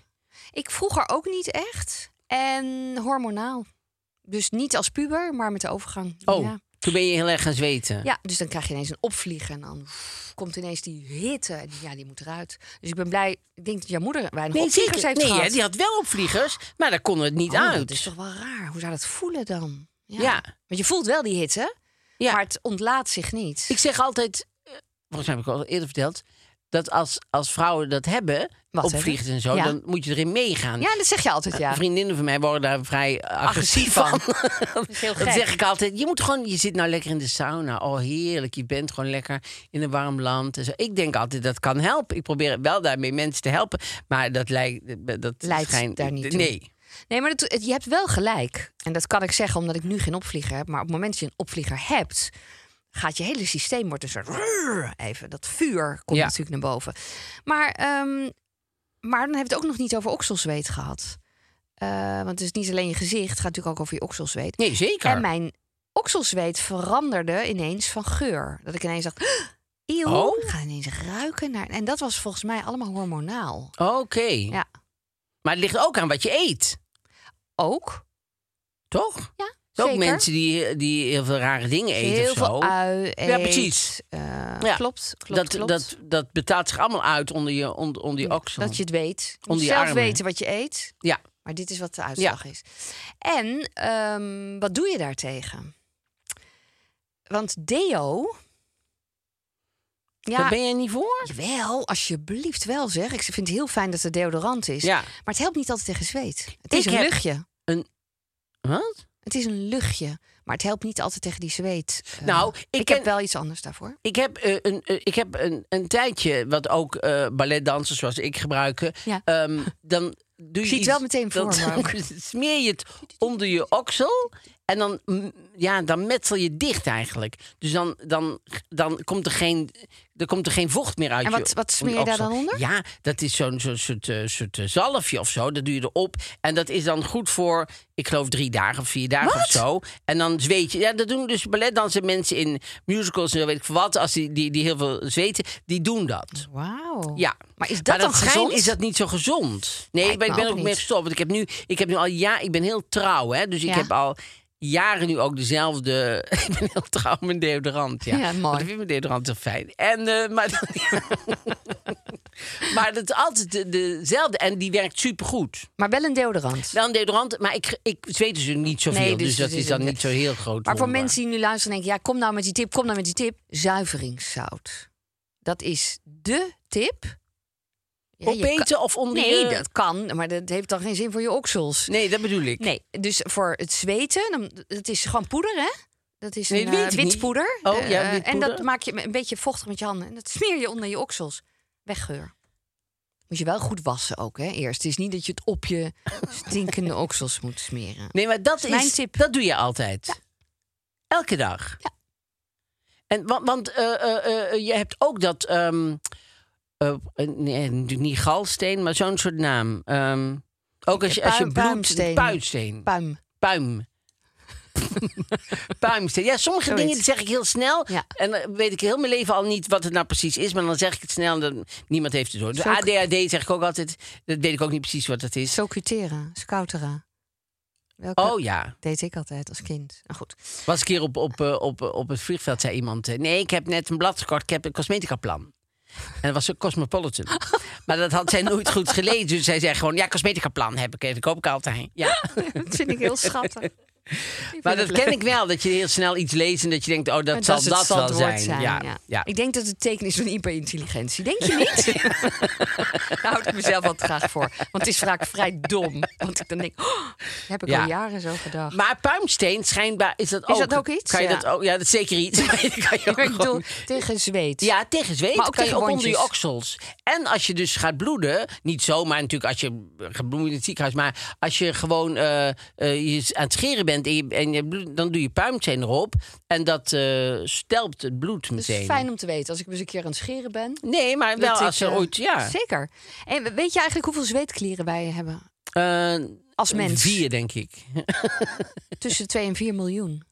[SPEAKER 1] Ik vroeger ook niet echt. En hormonaal. Dus niet als puber, maar met de overgang.
[SPEAKER 2] Oh,
[SPEAKER 1] Ja.
[SPEAKER 2] toen ben je heel erg gaan zweten.
[SPEAKER 1] Ja, dus dan krijg je ineens een opvliegen en dan pff, komt ineens die hitte. En die- ja, die moet eruit. Dus ik ben blij. Ik denk dat jouw moeder weinig
[SPEAKER 2] Nee,
[SPEAKER 1] opvliegers
[SPEAKER 2] zeker.
[SPEAKER 1] heeft
[SPEAKER 2] Nee,
[SPEAKER 1] gehad.
[SPEAKER 2] hè, die had wel opvliegers, maar daar kon het niet
[SPEAKER 1] Oh,
[SPEAKER 2] uit.
[SPEAKER 1] Dat is toch wel raar. Hoe zou dat voelen dan?
[SPEAKER 2] Ja.
[SPEAKER 1] Want je voelt wel die hitte,
[SPEAKER 2] Ja.
[SPEAKER 1] maar het ontlaat zich niet.
[SPEAKER 2] Ik zeg altijd, eh, volgens mij heb ik al eerder verteld... dat als, als vrouwen dat hebben,
[SPEAKER 1] Wat
[SPEAKER 2] op
[SPEAKER 1] hebben?
[SPEAKER 2] vliegers en zo,
[SPEAKER 1] Ja.
[SPEAKER 2] dan moet je erin meegaan.
[SPEAKER 1] Ja, dat zeg je altijd, ja. [laughs]
[SPEAKER 2] Vriendinnen van mij worden daar vrij agressief
[SPEAKER 1] Agressief
[SPEAKER 2] van. [laughs]
[SPEAKER 1] van.
[SPEAKER 2] dat,
[SPEAKER 1] is heel gek.
[SPEAKER 2] zeg ik altijd. Je moet gewoon, je zit nou lekker in de sauna. Oh, heerlijk. Je bent gewoon lekker in een warm land. En zo. Ik denk altijd dat kan helpen. Ik probeer wel daarmee mensen te helpen. Maar dat lijkt. Dat
[SPEAKER 1] Leidt
[SPEAKER 2] schijnt-
[SPEAKER 1] daar niet toe.
[SPEAKER 2] Nee.
[SPEAKER 1] Nee, maar dat- je hebt wel gelijk. En dat kan ik zeggen omdat ik nu geen opvlieger heb. Maar op het moment dat je een opvlieger hebt, gaat je hele systeem wordt een soort rrr, even dat vuur komt
[SPEAKER 2] Ja.
[SPEAKER 1] natuurlijk naar boven. Maar, ehm, maar dan hebben we het ook nog niet over okselzweet gehad. Eh, want het is niet alleen je gezicht, het gaat natuurlijk ook over je okselzweet.
[SPEAKER 2] Nee, zeker.
[SPEAKER 1] En mijn okselzweet veranderde ineens van geur. Dat ik ineens dacht, "Huh, eeuw,
[SPEAKER 2] Oh.
[SPEAKER 1] ik ga ineens ruiken naar... En dat was volgens mij allemaal hormonaal.
[SPEAKER 2] Oké.
[SPEAKER 1] Ja,
[SPEAKER 2] Maar het ligt ook aan wat je eet,
[SPEAKER 1] ook.
[SPEAKER 2] toch?
[SPEAKER 1] Ja,
[SPEAKER 2] Er zijn
[SPEAKER 1] zeker.
[SPEAKER 2] Ook mensen die, die heel veel rare dingen eten
[SPEAKER 1] Heel
[SPEAKER 2] of zo.
[SPEAKER 1] veel ui
[SPEAKER 2] Ja,
[SPEAKER 1] eet,
[SPEAKER 2] precies.
[SPEAKER 1] eh,
[SPEAKER 2] Ja.
[SPEAKER 1] Klopt, klopt,
[SPEAKER 2] dat,
[SPEAKER 1] klopt. Mm,
[SPEAKER 2] Dat, dat betaalt zich allemaal uit onder, je, onder, onder die oksel.
[SPEAKER 1] Dat je het weet. Je
[SPEAKER 2] Om
[SPEAKER 1] moet
[SPEAKER 2] die
[SPEAKER 1] zelf
[SPEAKER 2] armen.
[SPEAKER 1] weten wat je eet.
[SPEAKER 2] Ja.
[SPEAKER 1] Maar dit is wat de uitslag is. En ehm, wat doe je daartegen? Want deo...
[SPEAKER 2] Daar
[SPEAKER 1] Ja,
[SPEAKER 2] ben je niet voor?
[SPEAKER 1] Jawel, alsjeblieft wel zeg. Ik vind het heel fijn dat er deodorant is.
[SPEAKER 2] Ja.
[SPEAKER 1] Maar het helpt niet altijd tegen zweet. Het
[SPEAKER 2] Ik
[SPEAKER 1] is een
[SPEAKER 2] heb-
[SPEAKER 1] luchtje.
[SPEAKER 2] Wat?
[SPEAKER 1] Het is een luchtje. Maar het helpt niet altijd tegen die zweet. Eh,
[SPEAKER 2] Nou, ik ken-
[SPEAKER 1] heb wel iets anders daarvoor.
[SPEAKER 2] Ik heb, eh, een, eh, ik heb een, een tijdje, wat ook eh, balletdansers zoals ik gebruiken.
[SPEAKER 1] Ja.
[SPEAKER 2] ehm, dan doe je
[SPEAKER 1] zie het
[SPEAKER 2] iets-
[SPEAKER 1] wel meteen
[SPEAKER 2] dan
[SPEAKER 1] voor me ook.
[SPEAKER 2] [laughs] smeer je het onder je oksel. En dan, mm, ja, dan metsel je dicht eigenlijk. Dus dan, dan, dan komt, er geen, er komt er geen vocht meer uit
[SPEAKER 1] En
[SPEAKER 2] je-
[SPEAKER 1] wat- wat smeer je
[SPEAKER 2] onder
[SPEAKER 1] daar
[SPEAKER 2] oksel.
[SPEAKER 1] dan onder?
[SPEAKER 2] Ja, dat is zo'n zo'n soort, eh, soort eh, zalfje of zo. Dat doe je erop. En dat is dan goed voor, ik geloof, drie dagen of vier dagen of zo. En dan zweet je. Ja, dat doen dus balletdansen mensen in musicals en zo weet ik veel wat. Als die, die, die heel veel zweten, die doen dat.
[SPEAKER 1] Wauw.
[SPEAKER 2] Ja.
[SPEAKER 1] Oh. Maar is dat
[SPEAKER 2] Maar
[SPEAKER 1] dan
[SPEAKER 2] schijnt
[SPEAKER 1] gezond?
[SPEAKER 2] is dat niet zo gezond. Nee,
[SPEAKER 1] Lijkt
[SPEAKER 2] maar ik
[SPEAKER 1] me
[SPEAKER 2] ben
[SPEAKER 1] ook
[SPEAKER 2] ook
[SPEAKER 1] niet.
[SPEAKER 2] mee gestopt. Want ik heb nu, ik heb nu al ja, ik ben heel trouw, hè. Dus ik
[SPEAKER 1] Ja.
[SPEAKER 2] heb al jaren nu ook dezelfde. [laughs] ik ben heel trouw aan mijn deodorant. Ja,
[SPEAKER 1] Ja, mooi.
[SPEAKER 2] Want ik vind mijn deodorant heel fijn. En eh, maar, dan- [laughs] maar dat is altijd de- dezelfde en die werkt supergoed.
[SPEAKER 1] Maar wel een deodorant.
[SPEAKER 2] Wel een deodorant, maar ik, ik zweet dus niet zoveel,
[SPEAKER 1] Nee,
[SPEAKER 2] dus,
[SPEAKER 1] dus
[SPEAKER 2] dat
[SPEAKER 1] het
[SPEAKER 2] is
[SPEAKER 1] is
[SPEAKER 2] dan
[SPEAKER 1] een-
[SPEAKER 2] niet zo heel groot.
[SPEAKER 1] Maar voor
[SPEAKER 2] wonder.
[SPEAKER 1] mensen die nu luisteren en denken... ja, kom nou met die tip, kom nou met die tip. Zuiveringszout. Dat is dé tip. Ja, je
[SPEAKER 2] opeten
[SPEAKER 1] kan-
[SPEAKER 2] of onder
[SPEAKER 1] Nee,
[SPEAKER 2] je-
[SPEAKER 1] dat kan, maar dat heeft dan geen zin voor je oksels.
[SPEAKER 2] Nee, dat bedoel ik.
[SPEAKER 1] Nee, dus voor het zweten, dan, het is gewoon poeder, hè? Dat is
[SPEAKER 2] Nee,
[SPEAKER 1] een
[SPEAKER 2] dat weet
[SPEAKER 1] eh,
[SPEAKER 2] ik
[SPEAKER 1] wit
[SPEAKER 2] niet.
[SPEAKER 1] poeder.
[SPEAKER 2] Oh, ja,
[SPEAKER 1] Eh,
[SPEAKER 2] wit
[SPEAKER 1] En dat
[SPEAKER 2] poeder.
[SPEAKER 1] maak je een beetje vochtig met je handen. En dat smeer je onder je oksels. Weggeur. Moet je wel goed wassen ook, hè? Eerst. Het is niet dat je het op
[SPEAKER 2] [laughs]
[SPEAKER 1] je stinkende oksels moet smeren.
[SPEAKER 2] Nee, maar dat is,
[SPEAKER 1] Mijn tip.
[SPEAKER 2] Dat doe je altijd. Elke dag.
[SPEAKER 1] Ja.
[SPEAKER 2] En wa- want eh, eh, eh, je hebt ook dat. ehm, eh, eh, nee, natuurlijk niet galsteen, maar zo'n soort naam. Ehm, ook als je, als je
[SPEAKER 1] Puim-
[SPEAKER 2] bloed-
[SPEAKER 1] puimsteen.
[SPEAKER 2] Puimsteen.
[SPEAKER 1] Puim. [laughs]
[SPEAKER 2] Puim. Puimsteen. Ja, sommige
[SPEAKER 1] Zoiets.
[SPEAKER 2] dingen die zeg ik heel snel.
[SPEAKER 1] Ja.
[SPEAKER 2] En dan weet ik heel mijn leven al niet wat het nou precies is. Maar dan zeg ik het snel en dan, niemand heeft het door. Dus
[SPEAKER 1] Zo-
[SPEAKER 2] ADHD zeg ik ook altijd. Dat weet ik ook niet precies wat dat is.
[SPEAKER 1] Socutera, scoutera. Welke
[SPEAKER 2] Oh ja.
[SPEAKER 1] deed ik altijd als kind. Nou goed. [laughs]
[SPEAKER 2] Was een keer op, op, eh, op, eh, op het vliegveld, zei iemand... eh, nee, ik heb net een blad gekort, ik heb een cosmetica-plan. En dat was
[SPEAKER 1] [laughs]
[SPEAKER 2] een Cosmopolitan. Maar dat had zij nooit goed gelezen. Dus zij zei gewoon, ja, cosmetica-plan heb ik. eh, Dat koop ik altijd. Ja.
[SPEAKER 1] Dat vind ik heel schattig. Ik vind
[SPEAKER 2] Maar
[SPEAKER 1] het
[SPEAKER 2] dat
[SPEAKER 1] leuk.
[SPEAKER 2] ken ik wel, dat je heel snel iets leest... en dat je denkt, oh, dat zal
[SPEAKER 1] het
[SPEAKER 2] dat wel
[SPEAKER 1] standwoord
[SPEAKER 2] zijn. Ja, ja.
[SPEAKER 1] Ik denk dat het teken is van hyperintelligentie. Denk je
[SPEAKER 2] [laughs]
[SPEAKER 1] niet? Daar houd ik mezelf altijd graag voor. Want het is vaak vrij dom. Want ik dan denk, oh, heb ik
[SPEAKER 2] Ja.
[SPEAKER 1] al jaren zo gedacht.
[SPEAKER 2] Maar puimsteen, schijnbaar, is dat ook...
[SPEAKER 1] Is dat ook iets?
[SPEAKER 2] Kan je
[SPEAKER 1] Ja.
[SPEAKER 2] dat ook, ja, dat is zeker iets. [laughs] Maar je kan je ook
[SPEAKER 1] Maar ik bedoel,
[SPEAKER 2] gewoon-
[SPEAKER 1] tegen zweet.
[SPEAKER 2] Ja, tegen zweet
[SPEAKER 1] Maar ook
[SPEAKER 2] kan je
[SPEAKER 1] tegen
[SPEAKER 2] ook onder je
[SPEAKER 1] wondjes.
[SPEAKER 2] oksels. En als je dus gaat bloeden, niet zomaar natuurlijk als je gaat bloeden in het ziekenhuis, maar als je gewoon eh, eh, je is aan het scheren bent en, je, en je bloed- dan doe je puimteen erop en dat eh stelpt het bloed
[SPEAKER 1] Dat is
[SPEAKER 2] meteen.
[SPEAKER 1] fijn om te weten. Als ik eens een keer aan het scheren ben.
[SPEAKER 2] Nee, maar wel
[SPEAKER 1] dat ik,
[SPEAKER 2] als er
[SPEAKER 1] eh,
[SPEAKER 2] ooit, ja.
[SPEAKER 1] Zeker. En weet je eigenlijk hoeveel zweetklieren wij hebben?
[SPEAKER 2] Eh,
[SPEAKER 1] Als mens.
[SPEAKER 2] Vier, denk ik.
[SPEAKER 1] Tussen 2 en 4 miljoen.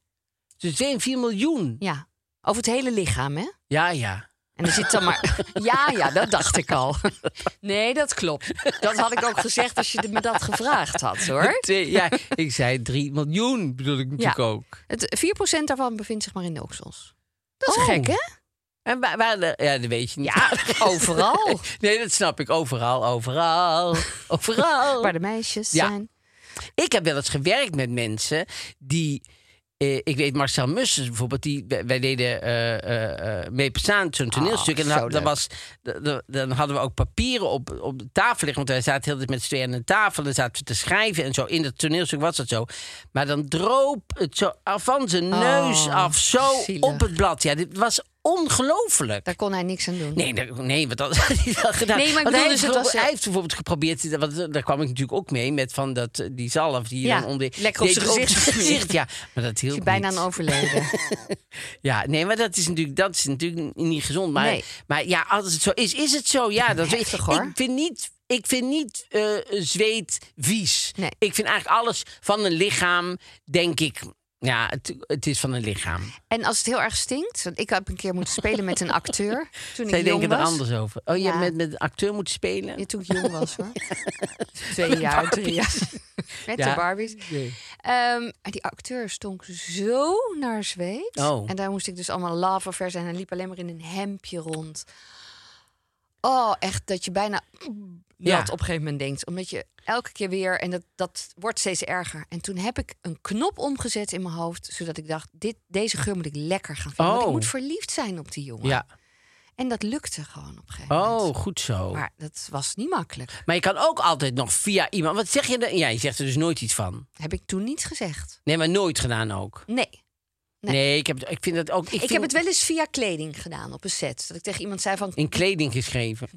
[SPEAKER 2] Dus 2 en 4 miljoen.
[SPEAKER 1] Ja. Over het hele lichaam, hè?
[SPEAKER 2] Ja, ja.
[SPEAKER 1] En er zit dan [laughs] maar. Ja, ja, dat dacht ik al. [laughs] Nee, dat klopt. Dat had ik ook gezegd als je me dat gevraagd had, hoor.
[SPEAKER 2] Twee- ja ik zei 3 miljoen, bedoel ik natuurlijk ook.
[SPEAKER 1] Het, 4% daarvan bevindt zich maar in de oksels. Dat is
[SPEAKER 2] Oh.
[SPEAKER 1] gek, hè?
[SPEAKER 2] En waar, waar de- ja, dat weet je niet. [laughs]
[SPEAKER 1] Ja, overal.
[SPEAKER 2] Nee, dat snap ik. Overal, overal, overal.
[SPEAKER 1] Waar de meisjes
[SPEAKER 2] Ja.
[SPEAKER 1] zijn.
[SPEAKER 2] Ik heb wel eens gewerkt met mensen die. eh, eh, ik weet Marcel Mussen bijvoorbeeld, die, wij, wij deden eh eh, eh, mee Pesaan, zo'n toneelstuk. en
[SPEAKER 1] Ah, zo
[SPEAKER 2] dan,
[SPEAKER 1] leuk.
[SPEAKER 2] dan, was, dan- dan- dan hadden we ook papieren op, op de tafel liggen. Want wij zaten heel tijd met z'n tweeën aan de tafel. Dan zaten we te schrijven en zo. In dat toneelstuk was dat zo. Maar dan droop het zo van zijn
[SPEAKER 1] Oh,
[SPEAKER 2] neus af, zo
[SPEAKER 1] zielig.
[SPEAKER 2] op het blad. Ja, dit was ongelooflijk.
[SPEAKER 1] Daar kon hij niks aan doen.
[SPEAKER 2] Nee, daar- nee, want dat had [laughs] hij wel gedaan.
[SPEAKER 1] Nee, maar ik
[SPEAKER 2] Want
[SPEAKER 1] bedoel,
[SPEAKER 2] hij,
[SPEAKER 1] dus
[SPEAKER 2] heeft
[SPEAKER 1] het was,
[SPEAKER 2] bijvoorbeeld-
[SPEAKER 1] eh,
[SPEAKER 2] hij heeft bijvoorbeeld geprobeerd, want eh, daar kwam ik natuurlijk ook mee met van dat, eh, die zalf die je
[SPEAKER 1] Ja,
[SPEAKER 2] dan onder
[SPEAKER 1] lekker op
[SPEAKER 2] deed
[SPEAKER 1] zijn
[SPEAKER 2] je
[SPEAKER 1] gezicht
[SPEAKER 2] zijn
[SPEAKER 1] gesmeerd.
[SPEAKER 2] Ja, maar dat
[SPEAKER 1] Is
[SPEAKER 2] hielp
[SPEAKER 1] hij bijna
[SPEAKER 2] niet.
[SPEAKER 1] aan [laughs] overleden.
[SPEAKER 2] Ja, nee, maar dat is natuurlijk, dat is natuurlijk niet gezond. Maar,
[SPEAKER 1] Nee.
[SPEAKER 2] maar ja, als het zo is, is het zo. Ja, dat
[SPEAKER 1] Heftig,
[SPEAKER 2] ik,
[SPEAKER 1] hoor.
[SPEAKER 2] Ik vind niet, ik vind niet eh, zweet vies.
[SPEAKER 1] Nee.
[SPEAKER 2] Ik vind eigenlijk alles van een lichaam, denk ik. Ja, het, het is van een lichaam.
[SPEAKER 1] en als het heel erg stinkt, want ik heb een keer moeten spelen met een [laughs] acteur toen
[SPEAKER 2] Zij
[SPEAKER 1] ik jong
[SPEAKER 2] denken er
[SPEAKER 1] was.
[SPEAKER 2] anders over. Oh, je
[SPEAKER 1] Ja.
[SPEAKER 2] hebt met, met een acteur moeten spelen?
[SPEAKER 1] Ja, toen ik jong was [laughs] hoor. Twee jaar, drie jaar. [laughs] Met de
[SPEAKER 2] Ja.
[SPEAKER 1] Barbies.
[SPEAKER 2] Nee.
[SPEAKER 1] Ehm, maar die acteur stonk zo naar zweet.
[SPEAKER 2] Oh.
[SPEAKER 1] En daar moest ik dus allemaal lava ver zijn. Hij liep alleen maar in een hemdje rond. Oh, echt dat je bijna
[SPEAKER 2] Ja.
[SPEAKER 1] dat op een gegeven moment denkt. Omdat je elke keer weer, en dat, dat wordt steeds erger. En toen heb ik een knop omgezet in mijn hoofd. Zodat ik dacht, dit, deze geur moet ik lekker gaan vinden. Want ik
[SPEAKER 2] Oh.
[SPEAKER 1] moet verliefd zijn op die jongen.
[SPEAKER 2] Ja.
[SPEAKER 1] En dat lukte gewoon op een gegeven moment.
[SPEAKER 2] Oh, goed zo. Maar,
[SPEAKER 1] Maar dat was niet makkelijk.
[SPEAKER 2] je kan ook altijd nog via iemand. Wat zeg je dan? Ja, je zegt er dus nooit iets van.
[SPEAKER 1] Heb ik toen niet gezegd.
[SPEAKER 2] Nee, maar nooit gedaan ook.
[SPEAKER 1] Nee. Nee.
[SPEAKER 2] Nee, ik, heb, ik vind dat ook. Ik,
[SPEAKER 1] Ik,
[SPEAKER 2] vind-
[SPEAKER 1] heb het wel eens via kleding gedaan op een set. Dat ik tegen iemand zei van,
[SPEAKER 2] in kleding [laughs] geschreven.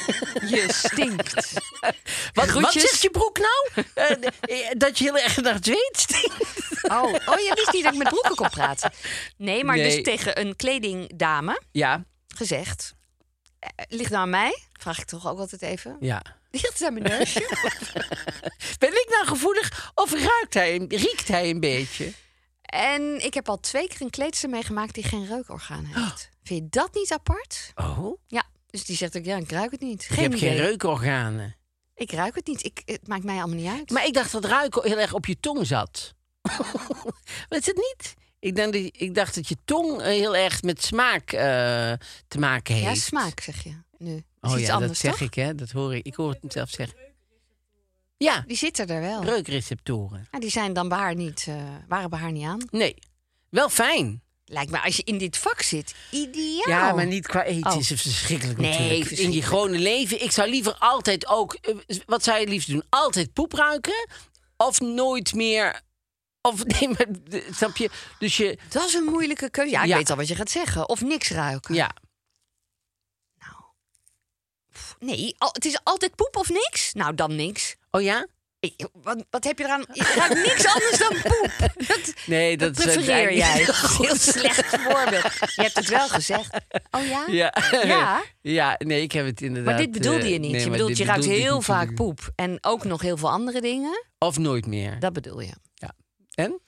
[SPEAKER 1] [laughs] je stinkt.
[SPEAKER 2] Wat, wat
[SPEAKER 1] Groetjes.
[SPEAKER 2] zegt je broek nou? [laughs] Eh, eh, dat je heel erg naar het zweet stinkt.
[SPEAKER 1] Oh, oh, je wist niet dat ik met broeken kon praten. Nee, maar dus
[SPEAKER 2] Nee.
[SPEAKER 1] tegen een kledingdame
[SPEAKER 2] Ja,
[SPEAKER 1] gezegd... eh, Ligt nou aan mij? Vraag ik toch ook altijd even.
[SPEAKER 2] ja.
[SPEAKER 1] Ligt het aan mijn neusje? [laughs]
[SPEAKER 2] Ben ik nou gevoelig of ruikt hij, een- riekt hij een beetje?
[SPEAKER 1] En ik heb al twee keer een kleedster meegemaakt die geen reukorgaan heeft. Vind je dat niet apart?
[SPEAKER 2] Oh,
[SPEAKER 1] Oh. Ja. Dus die zegt ook, ja, ik ruik het niet.
[SPEAKER 2] ik
[SPEAKER 1] Geen
[SPEAKER 2] heb geen
[SPEAKER 1] idee.
[SPEAKER 2] reukorganen.
[SPEAKER 1] Ik ruik het niet. Ik, het maakt mij allemaal niet uit.
[SPEAKER 2] Maar ik dacht dat ruiken heel erg op je tong zat. [laughs] maar is het niet? Ik, denk dat, ik dacht dat je tong eh, heel erg met smaak eh, te maken heeft.
[SPEAKER 1] ja, smaak zeg je nu. Dat
[SPEAKER 2] Oh
[SPEAKER 1] is
[SPEAKER 2] ja,
[SPEAKER 1] iets
[SPEAKER 2] dat
[SPEAKER 1] anders,
[SPEAKER 2] zeg
[SPEAKER 1] toch?
[SPEAKER 2] ik, hè? Dat hoor ik. Ik hoor het zelf zeggen. Ja,
[SPEAKER 1] Die zitten er wel.
[SPEAKER 2] reukreceptoren.
[SPEAKER 1] Ja, die zijn dan bij haar niet, eh, waren bij haar niet aan.
[SPEAKER 2] Nee, wel fijn.
[SPEAKER 1] Lijkt me, als je in dit vak zit, ideaal.
[SPEAKER 2] Ja, maar niet qua eten
[SPEAKER 1] Oh.
[SPEAKER 2] is het verschrikkelijk
[SPEAKER 1] Nee,
[SPEAKER 2] natuurlijk. In je
[SPEAKER 1] verschrikkelijk.
[SPEAKER 2] gewone leven. Ik zou liever altijd ook... eh, Wat zou je liefst doen? Altijd poep ruiken? Of nooit meer... Of [laughs] nee, maar... eh, Snap je? Dus je...
[SPEAKER 1] Dat is een moeilijke keuze. Ja, ik
[SPEAKER 2] Ja.
[SPEAKER 1] weet al wat je gaat zeggen. Of niks ruiken.
[SPEAKER 2] Ja,
[SPEAKER 1] Nou. Pff, Nee, al- het is altijd poep of niks? Nou, dan niks.
[SPEAKER 2] Oh ja?
[SPEAKER 1] Ik- wat, wat heb je eraan? Je ruikt
[SPEAKER 2] [laughs]
[SPEAKER 1] niks anders dan poep. Dat,
[SPEAKER 2] Nee,
[SPEAKER 1] dat
[SPEAKER 2] dat is
[SPEAKER 1] prefereer
[SPEAKER 2] uiteindelijk
[SPEAKER 1] jij.
[SPEAKER 2] niet
[SPEAKER 1] Dat is een heel slecht voorbeeld. Je hebt het wel gezegd. Oh ja?
[SPEAKER 2] [laughs] Ja.
[SPEAKER 1] Ja.
[SPEAKER 2] [laughs] Ja, nee, ik heb het inderdaad...
[SPEAKER 1] Maar dit bedoelde
[SPEAKER 2] eh,
[SPEAKER 1] je niet.
[SPEAKER 2] nee,
[SPEAKER 1] je
[SPEAKER 2] maar
[SPEAKER 1] bedoelt,
[SPEAKER 2] dit
[SPEAKER 1] je ruikt
[SPEAKER 2] bedoelde ik
[SPEAKER 1] heel
[SPEAKER 2] natuurlijk
[SPEAKER 1] vaak poep. En ook nog heel veel andere dingen.
[SPEAKER 2] niet. Of nooit meer.
[SPEAKER 1] Dat bedoel je.
[SPEAKER 2] En?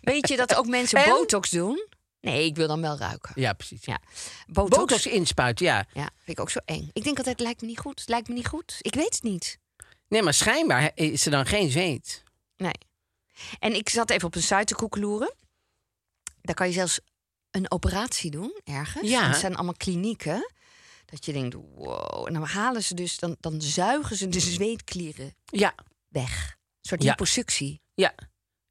[SPEAKER 1] Weet je dat ook mensen
[SPEAKER 2] En?
[SPEAKER 1] botox doen? Nee, ik wil dan wel ruiken.
[SPEAKER 2] Ja, precies.
[SPEAKER 1] Ja. Botox,
[SPEAKER 2] Botox inspuiten, ja.
[SPEAKER 1] Ja, vind ik ook zo eng. Ik denk altijd, het lijkt me niet goed. Het lijkt me niet goed. Ik weet het niet.
[SPEAKER 2] Nee, maar schijnbaar is er dan geen zweet.
[SPEAKER 1] Nee. En ik zat even op een site te koekeloeren. Daar kan je zelfs een operatie doen, ergens.
[SPEAKER 2] Ja.
[SPEAKER 1] Dat zijn allemaal klinieken. Dat je denkt, wow. En dan halen ze dus, dan, dan zuigen ze de zweetklieren
[SPEAKER 2] Ja,
[SPEAKER 1] weg. Een soort
[SPEAKER 2] Mm. Ja.
[SPEAKER 1] liposuctie.
[SPEAKER 2] ja.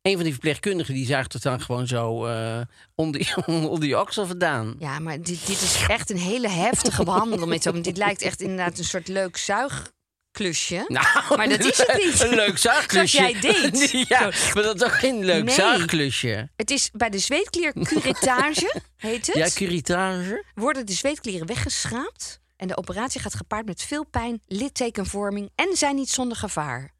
[SPEAKER 2] Een van die verpleegkundigen die zuigt het dan gewoon zo eh, onder, je- [laughs] onder je oksel vandaan.
[SPEAKER 1] Ja, maar dit, dit is echt een hele heftige behandeling. Met zo, want dit lijkt echt inderdaad een soort leuk zuigklusje.
[SPEAKER 2] Nou,
[SPEAKER 1] [laughs] Maar dat is het niet.
[SPEAKER 2] Een leuk zuigklusje.
[SPEAKER 1] Zoals jij deed.
[SPEAKER 2] Nee, [laughs] ja, maar dat is ook geen leuk
[SPEAKER 1] Nee.
[SPEAKER 2] zuigklusje.
[SPEAKER 1] Het is bij de zweetklier curettage, heet het.
[SPEAKER 2] Ja, curitage.
[SPEAKER 1] worden de zweetklieren weggeschraapt. En de operatie gaat gepaard met veel pijn, littekenvorming en zijn niet zonder gevaar.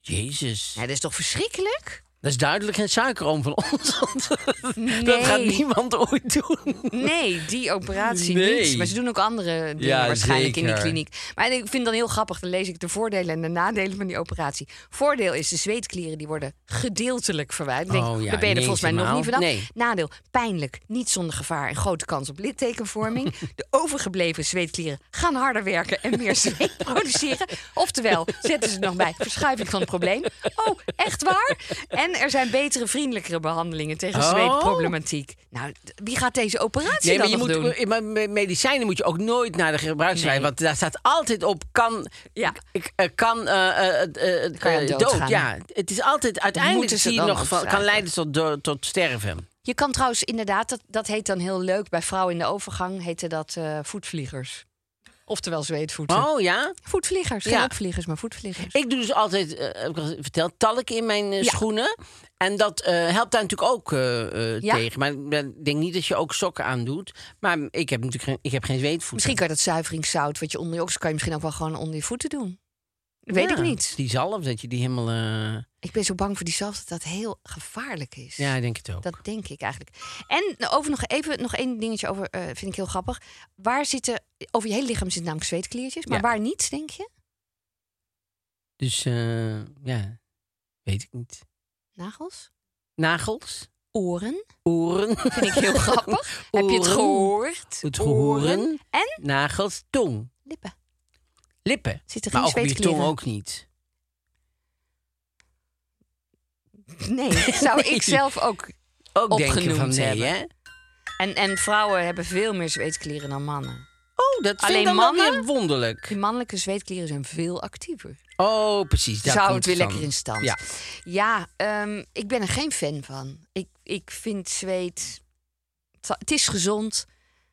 [SPEAKER 2] Jezus.
[SPEAKER 1] Nou, dat is toch verschrikkelijk?
[SPEAKER 2] Dat is duidelijk geen suikeroom van ons. [laughs] want
[SPEAKER 1] Nee.
[SPEAKER 2] Dat gaat niemand ooit doen.
[SPEAKER 1] Nee, die operatie
[SPEAKER 2] Nee.
[SPEAKER 1] niet. Maar ze doen ook andere dingen
[SPEAKER 2] Ja,
[SPEAKER 1] waarschijnlijk in die
[SPEAKER 2] zeker.
[SPEAKER 1] kliniek. Maar ik vind het dan heel grappig, dan lees ik de voordelen en de nadelen van die operatie. Voordeel is, de zweetklieren die worden gedeeltelijk verwijderd. Dan Denk,
[SPEAKER 2] Oh
[SPEAKER 1] ik,
[SPEAKER 2] ja,
[SPEAKER 1] daar ben je er
[SPEAKER 2] niet
[SPEAKER 1] volgens mij nog niet vanaf.
[SPEAKER 2] helemaal. Nee.
[SPEAKER 1] Nadeel, pijnlijk, niet zonder gevaar en grote kans op littekenvorming.
[SPEAKER 2] [laughs]
[SPEAKER 1] De overgebleven zweetklieren gaan harder werken en meer
[SPEAKER 2] [laughs]
[SPEAKER 1] zweet produceren. Oftewel, zetten ze er nog bij, verschuiving van het probleem. Oh, echt waar? En En er zijn betere, vriendelijkere behandelingen tegen
[SPEAKER 2] Oh.
[SPEAKER 1] zweetproblematiek. Nou, d- wie gaat deze operatie
[SPEAKER 2] Nee,
[SPEAKER 1] dan
[SPEAKER 2] maar, je
[SPEAKER 1] nog
[SPEAKER 2] moet,
[SPEAKER 1] doen?
[SPEAKER 2] eh, maar me- medicijnen moet je ook nooit naar de gebruikswijze.
[SPEAKER 1] Nee.
[SPEAKER 2] Want daar staat altijd op: kan.
[SPEAKER 1] Ja.
[SPEAKER 2] Ik, eh, kan. eh, eh, eh, eh,
[SPEAKER 1] Kan je
[SPEAKER 2] eh,
[SPEAKER 1] dood gaan,
[SPEAKER 2] Ja, het is altijd. Uiteindelijk
[SPEAKER 1] moeten ze
[SPEAKER 2] zie je
[SPEAKER 1] dan
[SPEAKER 2] nog. Van, kan
[SPEAKER 1] opschrijven.
[SPEAKER 2] leiden tot, do- tot sterven.
[SPEAKER 1] Je kan trouwens inderdaad, dat, dat heet dan heel leuk... bij vrouwen in de overgang heette dat eh, voetvliegers. Oftewel zweetvoeten.
[SPEAKER 2] Oh ja.
[SPEAKER 1] Voetvliegers,
[SPEAKER 2] Ja.
[SPEAKER 1] geen opvliegers, maar voetvliegers.
[SPEAKER 2] Ik doe dus altijd, eh, heb ik al verteld, talk in mijn eh,
[SPEAKER 1] Ja.
[SPEAKER 2] schoenen. En dat eh, helpt daar natuurlijk ook eh, eh,
[SPEAKER 1] Ja.
[SPEAKER 2] tegen. Maar ik ben- denk niet dat je ook sokken aandoet. Maar ik heb natuurlijk geen, ik heb geen zweetvoeten.
[SPEAKER 1] Misschien kan je dat zuiveringszout wat je onder je oksels... kan je misschien ook wel gewoon onder je voeten doen. Dat weet
[SPEAKER 2] Ja,
[SPEAKER 1] ik niet.
[SPEAKER 2] Die zalf, dat je die helemaal... eh,
[SPEAKER 1] Ik ben zo bang voor die zelf dat dat heel gevaarlijk is.
[SPEAKER 2] ja, ik denk het ook.
[SPEAKER 1] Dat denk ik eigenlijk. En nou, over nog even nog één dingetje over, eh, vind ik heel grappig. Waar zitten, over je hele lichaam zitten namelijk zweetkliertjes, maar
[SPEAKER 2] Ja.
[SPEAKER 1] waar niet, denk je?
[SPEAKER 2] Dus eh, ja, weet ik niet.
[SPEAKER 1] Nagels?
[SPEAKER 2] Nagels?
[SPEAKER 1] Oren?
[SPEAKER 2] Oren?
[SPEAKER 1] Vind ik
[SPEAKER 2] [laughs]
[SPEAKER 1] heel [laughs] grappig. Heb je het
[SPEAKER 2] Oren.
[SPEAKER 1] gehoord?
[SPEAKER 2] Het horen.
[SPEAKER 1] En
[SPEAKER 2] Nagels, tong,
[SPEAKER 1] lippen.
[SPEAKER 2] lippen.
[SPEAKER 1] Zit er
[SPEAKER 2] maar
[SPEAKER 1] geen
[SPEAKER 2] ook op je tong
[SPEAKER 1] zweetklieren?
[SPEAKER 2] ook niet.
[SPEAKER 1] [laughs] Nee, zou
[SPEAKER 2] Nee.
[SPEAKER 1] ik zelf ook.
[SPEAKER 2] Ook denken
[SPEAKER 1] Opgenoemd
[SPEAKER 2] van nee,
[SPEAKER 1] hebben.
[SPEAKER 2] hè?
[SPEAKER 1] En, en vrouwen hebben veel meer zweetklieren dan mannen.
[SPEAKER 2] Oh, dat vind ik
[SPEAKER 1] Alleen
[SPEAKER 2] dan wel
[SPEAKER 1] mannen?
[SPEAKER 2] weer wonderlijk.
[SPEAKER 1] Die mannelijke zweetklieren zijn veel actiever.
[SPEAKER 2] Oh, precies. daar
[SPEAKER 1] zou
[SPEAKER 2] komt
[SPEAKER 1] het weer
[SPEAKER 2] van.
[SPEAKER 1] lekker in stand.
[SPEAKER 2] Ja.
[SPEAKER 1] Ja, ehm, ik ben er geen fan van. Ik, ik vind zweet. het zal- Het is gezond,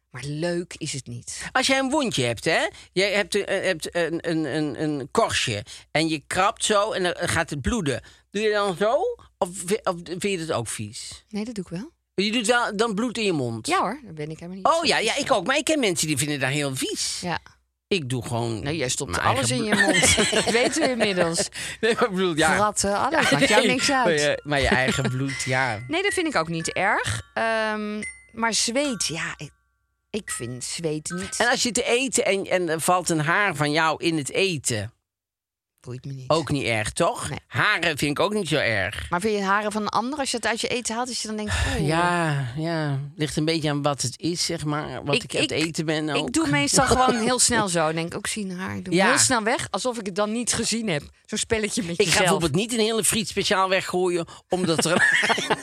[SPEAKER 1] maar leuk is het niet.
[SPEAKER 2] Als jij een wondje hebt, hè? Jij hebt, een- eh, hebt een, een, een, een korstje en je krabt zo en dan gaat het bloeden. Doe je dan zo? Of, vi- of vind je dat ook vies?
[SPEAKER 1] Nee, dat doe ik wel.
[SPEAKER 2] Je doet wel dan bloed in je mond.
[SPEAKER 1] Ja hoor, daar ben ik helemaal niet.
[SPEAKER 2] Oh ja, ja, ik ook. Maar ik ken mensen die vinden dat heel vies.
[SPEAKER 1] Ja.
[SPEAKER 2] Ik doe gewoon.
[SPEAKER 1] Nou, jij stopt
[SPEAKER 2] mijn
[SPEAKER 1] alles in
[SPEAKER 2] eigen
[SPEAKER 1] je mond. dat weten we inmiddels.
[SPEAKER 2] bloed. [laughs] Nee, maar ik bedoel, ja.
[SPEAKER 1] Ratten, alles. Maakt
[SPEAKER 2] [laughs]
[SPEAKER 1] jou
[SPEAKER 2] Nee, eh,
[SPEAKER 1] niks
[SPEAKER 2] Maar
[SPEAKER 1] uit.
[SPEAKER 2] je, maar je eigen bloed, ja.
[SPEAKER 1] Nee, dat vind ik ook niet erg. Ehm, maar zweet, ja, ik, ik vind zweet niet.
[SPEAKER 2] En als je te eten en, en er valt een haar van jou in het eten,
[SPEAKER 1] boeit me niet.
[SPEAKER 2] ook niet erg, toch?
[SPEAKER 1] Nee.
[SPEAKER 2] Haren vind ik ook niet zo erg.
[SPEAKER 1] Maar vind je haren van een ander, als je het uit je eten haalt, als je dan denkt, oh. oeh.
[SPEAKER 2] Ja, ja. Ligt een beetje aan wat het is, zeg maar. Wat ik, aan het eten ben. Ook.
[SPEAKER 1] Ik doe meestal
[SPEAKER 2] [laughs]
[SPEAKER 1] gewoon heel snel zo. Denk ook zien haar. Ik doe hem
[SPEAKER 2] Ja.
[SPEAKER 1] heel snel weg, alsof ik het dan niet gezien heb. Zo'n spelletje met
[SPEAKER 2] Ik ga
[SPEAKER 1] jezelf.
[SPEAKER 2] bijvoorbeeld niet een hele friet speciaal weggooien, omdat [laughs] er. een-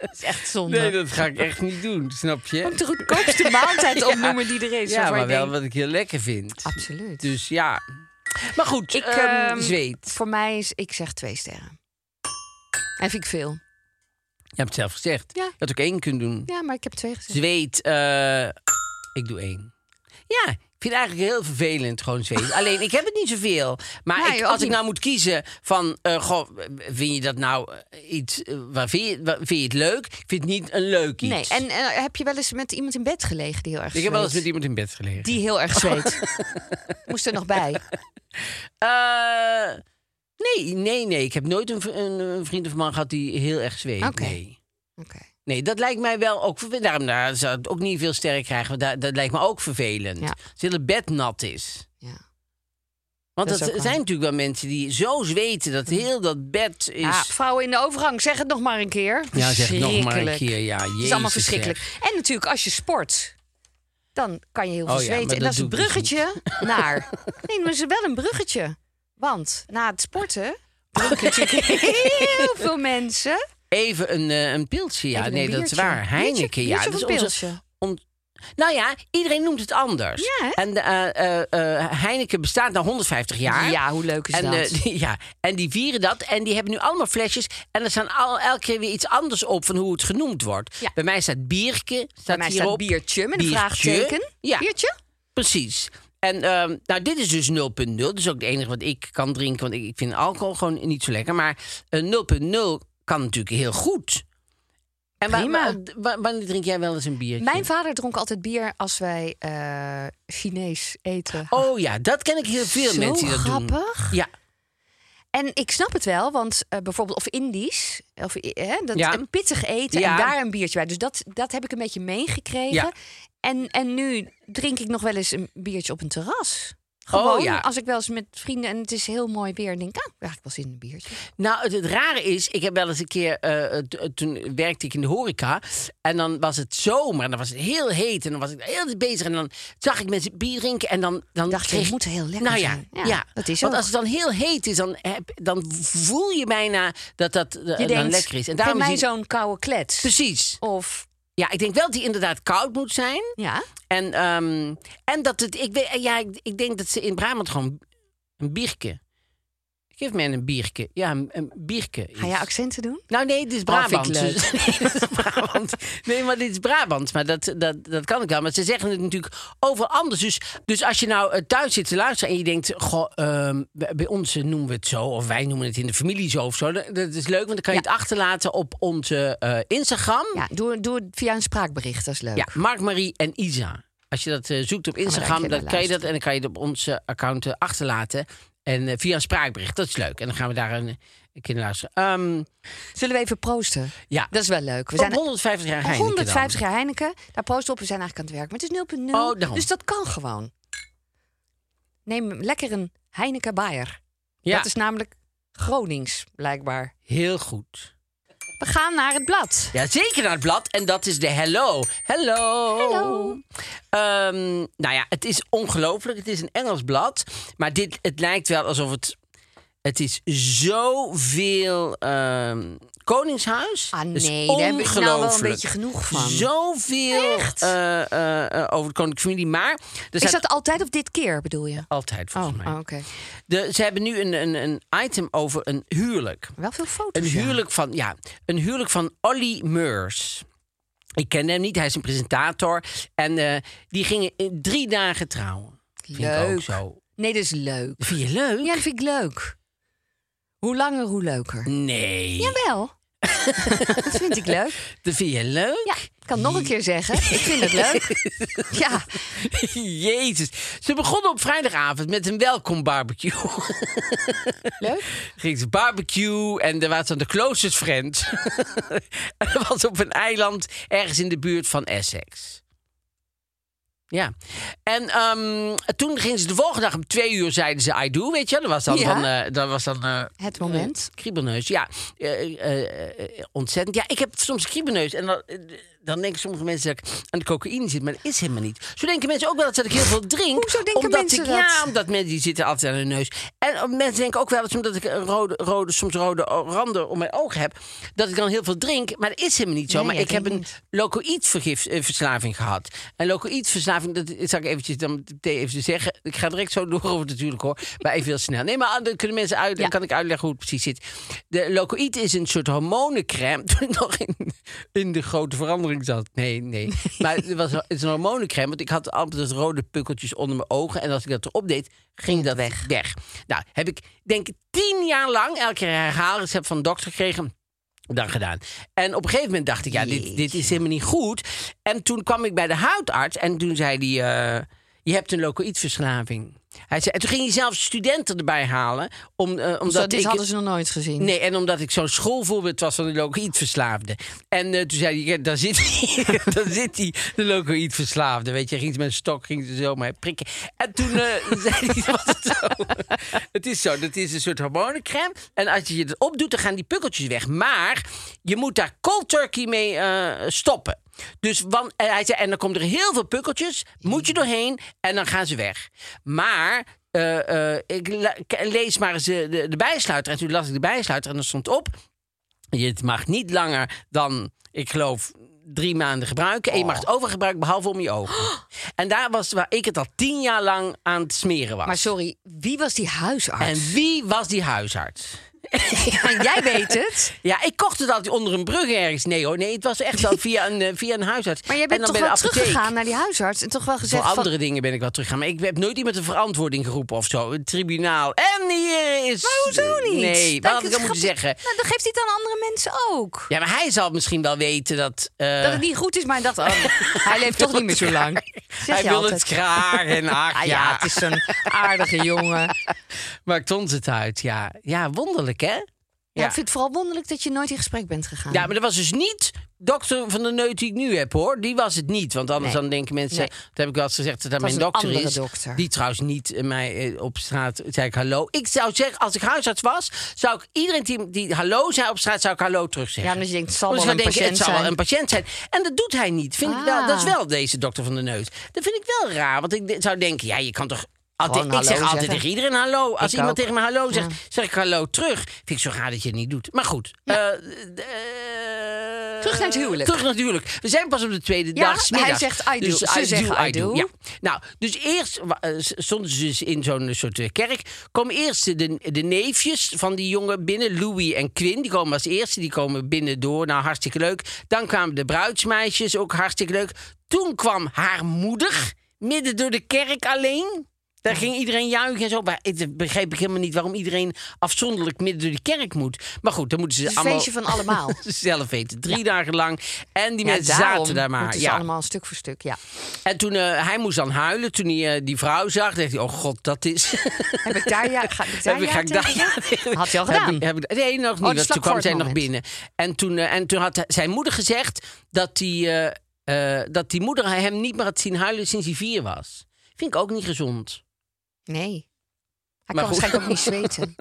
[SPEAKER 1] Dat is echt zonde.
[SPEAKER 2] nee, dat ga ik echt niet doen, snap
[SPEAKER 1] Ook
[SPEAKER 2] je?
[SPEAKER 1] de
[SPEAKER 2] [laughs]
[SPEAKER 1] goedkoopste maaltijd opnoemen die er is.
[SPEAKER 2] Ja,
[SPEAKER 1] waarvan je
[SPEAKER 2] maar wel
[SPEAKER 1] denkt,
[SPEAKER 2] wat ik heel lekker vind.
[SPEAKER 1] Absoluut.
[SPEAKER 2] Dus ja. Maar goed,
[SPEAKER 1] Ik,
[SPEAKER 2] ik
[SPEAKER 1] ehm,
[SPEAKER 2] zweet.
[SPEAKER 1] Voor mij is, ik zeg twee sterren. En vind ik veel.
[SPEAKER 2] Je hebt het zelf gezegd.
[SPEAKER 1] Ja.
[SPEAKER 2] Je had ook één kunnen doen.
[SPEAKER 1] Ja, maar ik heb twee gezegd.
[SPEAKER 2] Zweet, eh, ik doe één. Ja, ik vind het eigenlijk heel vervelend
[SPEAKER 1] [laughs]
[SPEAKER 2] gewoon zweet. Alleen, ik heb het niet zoveel. Maar
[SPEAKER 1] Nee,
[SPEAKER 2] ik-
[SPEAKER 1] ook
[SPEAKER 2] als ik
[SPEAKER 1] niet.
[SPEAKER 2] nou moet kiezen van... eh, goh, vind je dat nou eh, iets... eh, Waar vind, je, waar- vind je het leuk? Ik vind het niet een leuk iets.
[SPEAKER 1] Nee, en eh, heb je wel eens met iemand in bed gelegen die heel erg
[SPEAKER 2] Ik heb wel eens met
[SPEAKER 1] zweet?
[SPEAKER 2] iemand in bed gelegen.
[SPEAKER 1] Die heel erg zweet. Oh. [laughs] Moest er nog bij.
[SPEAKER 2] Eh, nee, nee, nee. Ik heb nooit een, v- een, een vriend of man gehad die heel erg zweet.
[SPEAKER 1] Oké.
[SPEAKER 2] Nee.
[SPEAKER 1] Oké.
[SPEAKER 2] Nee, dat lijkt mij wel ook vervelend. Daarom daar zou het ook niet veel sterren krijgen. Want dat, dat lijkt me ook vervelend.
[SPEAKER 1] Ja.
[SPEAKER 2] Als het hele bed nat is.
[SPEAKER 1] Ja.
[SPEAKER 2] Want
[SPEAKER 1] Dat
[SPEAKER 2] dat,
[SPEAKER 1] is ook waar.
[SPEAKER 2] zijn natuurlijk wel mensen die zo zweten dat heel dat bed is.
[SPEAKER 1] Ah, vrouwen in de overgang, zeg het nog maar een keer.
[SPEAKER 2] ja, zeg het nog maar een
[SPEAKER 1] Verschrikkelijk.
[SPEAKER 2] keer. Ja, jezus,
[SPEAKER 1] Het is allemaal verschrikkelijk. En natuurlijk, als je sport, dan kan je heel veel
[SPEAKER 2] Oh ja,
[SPEAKER 1] zweten.
[SPEAKER 2] maar
[SPEAKER 1] en dat is een
[SPEAKER 2] dat doe ik dus
[SPEAKER 1] bruggetje [laughs] naar. Nee, maar het is wel een bruggetje. Want na het sporten
[SPEAKER 2] [laughs]
[SPEAKER 1] drinken natuurlijk heel veel mensen.
[SPEAKER 2] zeg. Even een, eh, een pilsje. Ja,
[SPEAKER 1] Even een
[SPEAKER 2] nee, dat is
[SPEAKER 1] biertje.
[SPEAKER 2] waar.
[SPEAKER 1] Biertje-
[SPEAKER 2] Heineken, ja.
[SPEAKER 1] biertje
[SPEAKER 2] Dat is
[SPEAKER 1] of een pilsje?
[SPEAKER 2] onze, on- nou ja, iedereen noemt het anders.
[SPEAKER 1] Ja, hè?
[SPEAKER 2] En eh, eh, eh, Heineken bestaat na 150 jaar.
[SPEAKER 1] Ja, hoe leuk is
[SPEAKER 2] en,
[SPEAKER 1] dat?
[SPEAKER 2] eh, [laughs] die- ja, en die vieren dat. En die hebben nu allemaal flesjes. En er staan al, elke keer weer iets anders op van hoe het genoemd wordt.
[SPEAKER 1] Ja.
[SPEAKER 2] Bij mij staat bierke. Staat
[SPEAKER 1] Bij mij staat
[SPEAKER 2] hierop.
[SPEAKER 1] biertje met een
[SPEAKER 2] Biertje.
[SPEAKER 1] vraagteken.
[SPEAKER 2] Ja,
[SPEAKER 1] Biertje?
[SPEAKER 2] precies. En ehm, nou, dit is dus 0.0. Dat is ook het enige wat ik kan drinken. Want ik, ik vind alcohol gewoon niet zo lekker. Maar eh, 0.0 kan natuurlijk heel goed. En wa-
[SPEAKER 1] Prima.
[SPEAKER 2] wa- wa- wanneer drink jij wel eens een biertje?
[SPEAKER 1] Mijn vader dronk altijd bier als wij eh, Chinees eten.
[SPEAKER 2] Oh ja, dat ken ik heel veel
[SPEAKER 1] Zo
[SPEAKER 2] mensen die dat doen.
[SPEAKER 1] grappig.
[SPEAKER 2] Ja,
[SPEAKER 1] En ik snap het wel, want eh, bijvoorbeeld of Indisch, of eh, hè, dat
[SPEAKER 2] Ja.
[SPEAKER 1] een pittig eten en
[SPEAKER 2] Ja.
[SPEAKER 1] daar een biertje bij. Dus dat, dat heb ik een beetje meegekregen.
[SPEAKER 2] Ja.
[SPEAKER 1] En, en nu drink ik nog wel eens een biertje op een terras. Gewoon
[SPEAKER 2] Oh, ja.
[SPEAKER 1] als ik wel eens met vrienden en het is heel mooi weer. En denk, ah, eigenlijk wel zin in een biertje.
[SPEAKER 2] Nou, het, het rare is, ik heb wel eens een keer, eh, t- eh, toen werkte ik in de horeca. En dan was het zomer en dan was het heel heet en dan was ik heel erg bezig. En dan zag ik mensen bier drinken en dan, dan
[SPEAKER 1] Dacht je,
[SPEAKER 2] kreeg
[SPEAKER 1] het moet heel lekker
[SPEAKER 2] nou, ja,
[SPEAKER 1] zijn. Ja,
[SPEAKER 2] Ja,
[SPEAKER 1] dat is
[SPEAKER 2] Want
[SPEAKER 1] ook.
[SPEAKER 2] als het dan heel heet is, dan, heb, dan voel je bijna dat dat eh,
[SPEAKER 1] Je
[SPEAKER 2] dan
[SPEAKER 1] denkt,
[SPEAKER 2] lekker is. En
[SPEAKER 1] geef
[SPEAKER 2] daarom
[SPEAKER 1] mij
[SPEAKER 2] is die-
[SPEAKER 1] zo'n koude klets.
[SPEAKER 2] Precies.
[SPEAKER 1] Of,
[SPEAKER 2] Ja, ik denk wel dat die inderdaad koud moet zijn.
[SPEAKER 1] ja,
[SPEAKER 2] En, ehm, en dat het, ik, weet, ja, ik, ik denk dat ze in Brabant gewoon een bierke. Geef mij een bierke. Ja, een, een bierke.
[SPEAKER 1] ga
[SPEAKER 2] iets.
[SPEAKER 1] jij accenten doen?
[SPEAKER 2] Nou, nee, dit is
[SPEAKER 1] Oh, vind
[SPEAKER 2] Brabant.
[SPEAKER 1] ik leuk. [laughs]
[SPEAKER 2] Dus- nee, dit is Brabant. Nee, maar dit is Brabant. Maar dat, dat, dat kan ik wel. Maar ze zeggen het natuurlijk overal anders. Dus, dus als je nou eh, thuis zit te luisteren en je denkt... Goh, ehm, bij bij ons eh, noemen we het zo. Of wij noemen het in de familie zo of zo. Dat, dat is leuk, want dan kan je
[SPEAKER 1] Ja.
[SPEAKER 2] het achterlaten op onze eh, Instagram. Ja,
[SPEAKER 1] Ja, doe, doe het via een spraakbericht, dat is leuk. Oh,
[SPEAKER 2] Mark, Marie en Isa. Als je dat eh, zoekt op
[SPEAKER 1] daar een
[SPEAKER 2] Instagram,
[SPEAKER 1] keer
[SPEAKER 2] dan
[SPEAKER 1] naar
[SPEAKER 2] kan je dat...
[SPEAKER 1] luisteren.
[SPEAKER 2] en dan kan je het op onze account eh, achterlaten. En eh, via een spraakbericht, dat is leuk. En dan gaan we daar een, een keer naar luisteren. Ehm,
[SPEAKER 1] Zullen we even proosten?
[SPEAKER 2] ja,
[SPEAKER 1] Dat is wel leuk. We
[SPEAKER 2] Op
[SPEAKER 1] zijn
[SPEAKER 2] 150 jaar Heineken dan.
[SPEAKER 1] 150 jaar Heineken. Daar proosten op, we zijn eigenlijk aan het werk. Maar het is 0,0.
[SPEAKER 2] Oh, daarom.
[SPEAKER 1] dus dat kan gewoon. Neem lekker een Heineken Bayer.
[SPEAKER 2] Ja,
[SPEAKER 1] Dat is namelijk Gronings, blijkbaar.
[SPEAKER 2] heel goed.
[SPEAKER 1] We gaan naar het blad.
[SPEAKER 2] Ja, zeker naar het blad. En dat is de Hello. Hello.
[SPEAKER 1] Hello.
[SPEAKER 2] Ehm, nou ja, het is ongelooflijk. Het is een Engels blad. Maar dit, het lijkt wel alsof het... Het is zoveel ehm, Koningshuis.
[SPEAKER 1] Ah,
[SPEAKER 2] Dat is
[SPEAKER 1] nee, daar heb ik nou wel een
[SPEAKER 2] ongelooflijk.
[SPEAKER 1] beetje genoeg van.
[SPEAKER 2] Zoveel
[SPEAKER 1] Echt?
[SPEAKER 2] eh, eh, eh, over de koninklijke familie. Maar er
[SPEAKER 1] Is
[SPEAKER 2] staat
[SPEAKER 1] dat altijd of dit keer, bedoel je?
[SPEAKER 2] altijd
[SPEAKER 1] Oh,
[SPEAKER 2] volgens mij.
[SPEAKER 1] oh, oké.
[SPEAKER 2] De, ze hebben nu een, een, een item over een huwelijk.
[SPEAKER 1] Wel veel foto's.
[SPEAKER 2] Een
[SPEAKER 1] ja.
[SPEAKER 2] huwelijk van, ja, een huwelijk van Olly Meurs. Ik ken hem niet, hij is een presentator. En eh, die gingen in drie dagen trouwen. Vind ik ook
[SPEAKER 1] Leuk.
[SPEAKER 2] zo.
[SPEAKER 1] Nee, dat is leuk.
[SPEAKER 2] Vind je leuk?
[SPEAKER 1] Ja, dat vind ik leuk. Hoe langer, hoe leuker.
[SPEAKER 2] Nee. [laughs]
[SPEAKER 1] Jawel. dat vind ik leuk.
[SPEAKER 2] Dat vind je leuk?
[SPEAKER 1] Ja, ik kan het nog een keer zeggen. Ik vind het leuk. Ja,
[SPEAKER 2] [laughs] Jezus. Ze begonnen op vrijdagavond met een welkom barbecue.
[SPEAKER 1] leuk.
[SPEAKER 2] ging ze barbecue en er was dan de closest friend. [laughs] en dat was op een eiland ergens in de buurt van Essex. Ja. En ehm, toen gingen ze de volgende dag om twee uur zeiden ze I do, weet je. wel. Dat was dan,
[SPEAKER 1] Ja.
[SPEAKER 2] dan, eh, dat was dan eh,
[SPEAKER 1] Het moment.
[SPEAKER 2] eh, kriebelneus, ja. Eh, eh, eh, eh, ontzettend. Ja, ik heb soms kriebelneus. En dan, eh, dan denken sommige mensen dat ik aan de cocaïne zit, maar dat is helemaal niet. Zo denken mensen ook wel eens dat ik heel veel drink.
[SPEAKER 1] Hoezo denken
[SPEAKER 2] omdat
[SPEAKER 1] mensen
[SPEAKER 2] ik,
[SPEAKER 1] dat?
[SPEAKER 2] Ja, omdat mensen die zitten altijd aan hun neus. En eh, mensen denken ook wel eens omdat ik een rode, rode, soms rode o- randen om mijn ogen heb, dat ik dan heel veel drink. Maar dat is helemaal niet zo.
[SPEAKER 1] Nee,
[SPEAKER 2] maar
[SPEAKER 1] dat
[SPEAKER 2] ik heb
[SPEAKER 1] denk ik
[SPEAKER 2] een locoïdverslaving gehad. En locoïdverslaving, dat zal ik eventjes dan meteen even zeggen. Ik ga direct zo door over natuurlijk hoor, maar even heel snel. Nee, maar eh, dan kunnen mensen uit,
[SPEAKER 1] Ja.
[SPEAKER 2] kan ik uitleggen hoe het precies zit. De locoïd is een soort hormonencrème. [laughs] Toen ik nog in, in de grote verandering zat. Nee, [laughs] nee. Maar het, was, het is een hormonencrème, want ik had altijd rode pukkeltjes onder mijn ogen. En als ik dat erop deed, ging dat weg. weg. Nou, heb ik denk ik tien jaar lang elke keer herhaalrecept van de dokter gekregen dan gedaan. En op een gegeven moment dacht ik, ja, dit, dit is helemaal niet goed. En toen kwam ik bij de huidarts en toen zei hij, eh, je hebt een locoïdverslaving. Hij zei, en toen ging hij zelfs studenten erbij halen. Om, eh, omdat
[SPEAKER 1] Zo, dit
[SPEAKER 2] ik,
[SPEAKER 1] hadden ze nog nooit gezien.
[SPEAKER 2] Nee, en omdat ik zo'n schoolvoorbeeld was van de locoïdverslaafde. En eh, toen zei hij, ja, daar zit hij, [laughs] daar zit hij, de locoïdverslaafde. Weet je, ging ze met een stok, ging ze zo maar prikken. En toen eh, [laughs] zei hij, was het zo. [laughs] het is zo, dat is een soort hormonencrème. En als je het opdoet, dan gaan die pukkeltjes weg. Maar je moet daar cold turkey mee eh, stoppen. Dus wan- en hij zei, en dan komt er heel veel pukkeltjes, moet je doorheen en dan gaan ze weg. Maar eh, eh, ik la- k- lees maar eens eh, de, de bijsluiter. En toen las ik de bijsluiter en er stond op... Het mag niet langer dan, ik geloof, drie maanden gebruiken. En je mag
[SPEAKER 1] Oh.
[SPEAKER 2] het overgebruiken, behalve om je
[SPEAKER 1] [gasps]
[SPEAKER 2] ogen. En daar was waar ik het al tien jaar lang aan het smeren was.
[SPEAKER 1] Maar sorry, wie was die huisarts?
[SPEAKER 2] en wie was die huisarts?
[SPEAKER 1] En jij weet
[SPEAKER 2] [laughs]
[SPEAKER 1] het.
[SPEAKER 2] Ja, ik kocht het altijd onder een brug ergens. Nee hoor, nee, het was echt
[SPEAKER 1] [laughs]
[SPEAKER 2] wel via een, eh, via een huisarts.
[SPEAKER 1] Maar jij
[SPEAKER 2] En
[SPEAKER 1] bent
[SPEAKER 2] dan
[SPEAKER 1] toch
[SPEAKER 2] bij
[SPEAKER 1] wel
[SPEAKER 2] de apotheek.
[SPEAKER 1] teruggegaan naar die huisarts en toch wel
[SPEAKER 2] Voor
[SPEAKER 1] gezegd van...
[SPEAKER 2] andere dingen ben ik wel teruggegaan. Maar ik heb nooit iemand een verantwoording geroepen of zo. Een tribunaal. En hier is...
[SPEAKER 1] Maar hoezo niet?
[SPEAKER 2] Nee, wat
[SPEAKER 1] Dat
[SPEAKER 2] had ik
[SPEAKER 1] is
[SPEAKER 2] dan moeten
[SPEAKER 1] grappig.
[SPEAKER 2] zeggen?
[SPEAKER 1] Nou, dan geeft hij het aan andere mensen ook.
[SPEAKER 2] Ja, maar hij zal misschien wel weten dat... eh,
[SPEAKER 1] Dat het niet goed is, maar hij
[SPEAKER 2] [laughs]
[SPEAKER 1] dacht, oh, hij leeft toch niet meer zo lang. Zeg
[SPEAKER 2] hij
[SPEAKER 1] je
[SPEAKER 2] wil
[SPEAKER 1] altijd.
[SPEAKER 2] het graag en ach,
[SPEAKER 1] Ah,
[SPEAKER 2] ja.
[SPEAKER 1] ja, het is
[SPEAKER 2] [laughs]
[SPEAKER 1] zo'n aardige jongen.
[SPEAKER 2] Maakt ons het uit, ja. Ja, wonderlijk, hè?
[SPEAKER 1] Ja, Nou, ik vind het vooral wonderlijk dat je nooit in gesprek bent gegaan.
[SPEAKER 2] Ja, maar dat was dus niet dokter van de neut die ik nu heb, hoor. Die was het niet. Want anders
[SPEAKER 1] Nee.
[SPEAKER 2] dan denken mensen,
[SPEAKER 1] Nee.
[SPEAKER 2] dat heb ik wel eens gezegd, dat dat
[SPEAKER 1] was
[SPEAKER 2] mijn
[SPEAKER 1] een
[SPEAKER 2] dokter
[SPEAKER 1] andere
[SPEAKER 2] is.
[SPEAKER 1] dokter.
[SPEAKER 2] Die trouwens niet eh, mij eh, op straat zei ik hallo. Ik zou zeggen, als ik huisarts was, zou ik iedereen die, die hallo zei op straat, zou ik hallo terug zeggen.
[SPEAKER 1] Ja, omdat je denkt, het zal
[SPEAKER 2] Omdat
[SPEAKER 1] wel
[SPEAKER 2] we
[SPEAKER 1] een
[SPEAKER 2] denken,
[SPEAKER 1] patiënt
[SPEAKER 2] het zal wel
[SPEAKER 1] zijn.
[SPEAKER 2] een patiënt zijn. En dat doet hij niet. Vind ik wel,
[SPEAKER 1] Ah.
[SPEAKER 2] dat is wel deze dokter van de neut. Dat vind ik wel raar. Want ik de- zou denken, ja, je kan toch... Altijd, ik
[SPEAKER 1] Gewoon
[SPEAKER 2] zeg
[SPEAKER 1] hallo
[SPEAKER 2] altijd
[SPEAKER 1] zeggen.
[SPEAKER 2] tegen iedereen hallo. Als
[SPEAKER 1] Ik
[SPEAKER 2] iemand
[SPEAKER 1] ook.
[SPEAKER 2] tegen me hallo zegt,
[SPEAKER 1] Ja.
[SPEAKER 2] zeg ik hallo terug. Vind ik zo raar dat je het niet doet. Maar goed. eh, eh,
[SPEAKER 1] Terug naar het huwelijk.
[SPEAKER 2] Terug naar het huwelijk. We zijn pas op de tweede
[SPEAKER 1] Ja,
[SPEAKER 2] dag. 's
[SPEAKER 1] hij
[SPEAKER 2] middags.
[SPEAKER 1] zegt I do.
[SPEAKER 2] Dus
[SPEAKER 1] Ze zeggen I do.
[SPEAKER 2] Ja. Nou, dus eerst wa- eh, s- stonden ze dus in zo'n soort eh, kerk. Komen eerst de, de neefjes van die jongen binnen, Louis en Quinn. Die komen als eerste, die komen binnen door. Nou, hartstikke leuk. Dan kwamen de bruidsmeisjes, ook hartstikke leuk. Toen kwam haar moeder, midden door de kerk alleen. Daar ging iedereen juichen en zo. Maar ik begreep ik helemaal niet waarom iedereen afzonderlijk midden door de kerk moet. Maar goed, dan moeten ze
[SPEAKER 1] Het is een
[SPEAKER 2] allemaal
[SPEAKER 1] feestje van
[SPEAKER 2] [laughs]
[SPEAKER 1] allemaal.
[SPEAKER 2] zelf weten. Drie dagen lang. En die mensen zaten daar maar.
[SPEAKER 1] Het is allemaal stuk voor stuk, ja.
[SPEAKER 2] En toen eh, hij moest dan huilen, toen hij eh, die vrouw zag, dacht hij: Oh god, dat is. [laughs]
[SPEAKER 1] Heb ik daar ja, ga, heb ik daar
[SPEAKER 2] Heb ik-
[SPEAKER 1] ja
[SPEAKER 2] ga ik daar-
[SPEAKER 1] tegen?
[SPEAKER 2] [laughs]
[SPEAKER 1] Had je al
[SPEAKER 2] Heb
[SPEAKER 1] gedaan? Oh,
[SPEAKER 2] ik- heb ik- nee, nog niet.
[SPEAKER 1] dat
[SPEAKER 2] want
[SPEAKER 1] vlak
[SPEAKER 2] toen
[SPEAKER 1] voor
[SPEAKER 2] kwam
[SPEAKER 1] het
[SPEAKER 2] zij nog
[SPEAKER 1] moment.
[SPEAKER 2] binnen. En toen, eh, en toen had hij- zijn moeder gezegd dat die, eh, eh, dat die moeder hem niet meer had zien huilen sinds hij vier was. Vind ik ook niet gezond.
[SPEAKER 1] Nee. Hij
[SPEAKER 2] Maar
[SPEAKER 1] kan
[SPEAKER 2] goed.
[SPEAKER 1] waarschijnlijk ook niet zweten.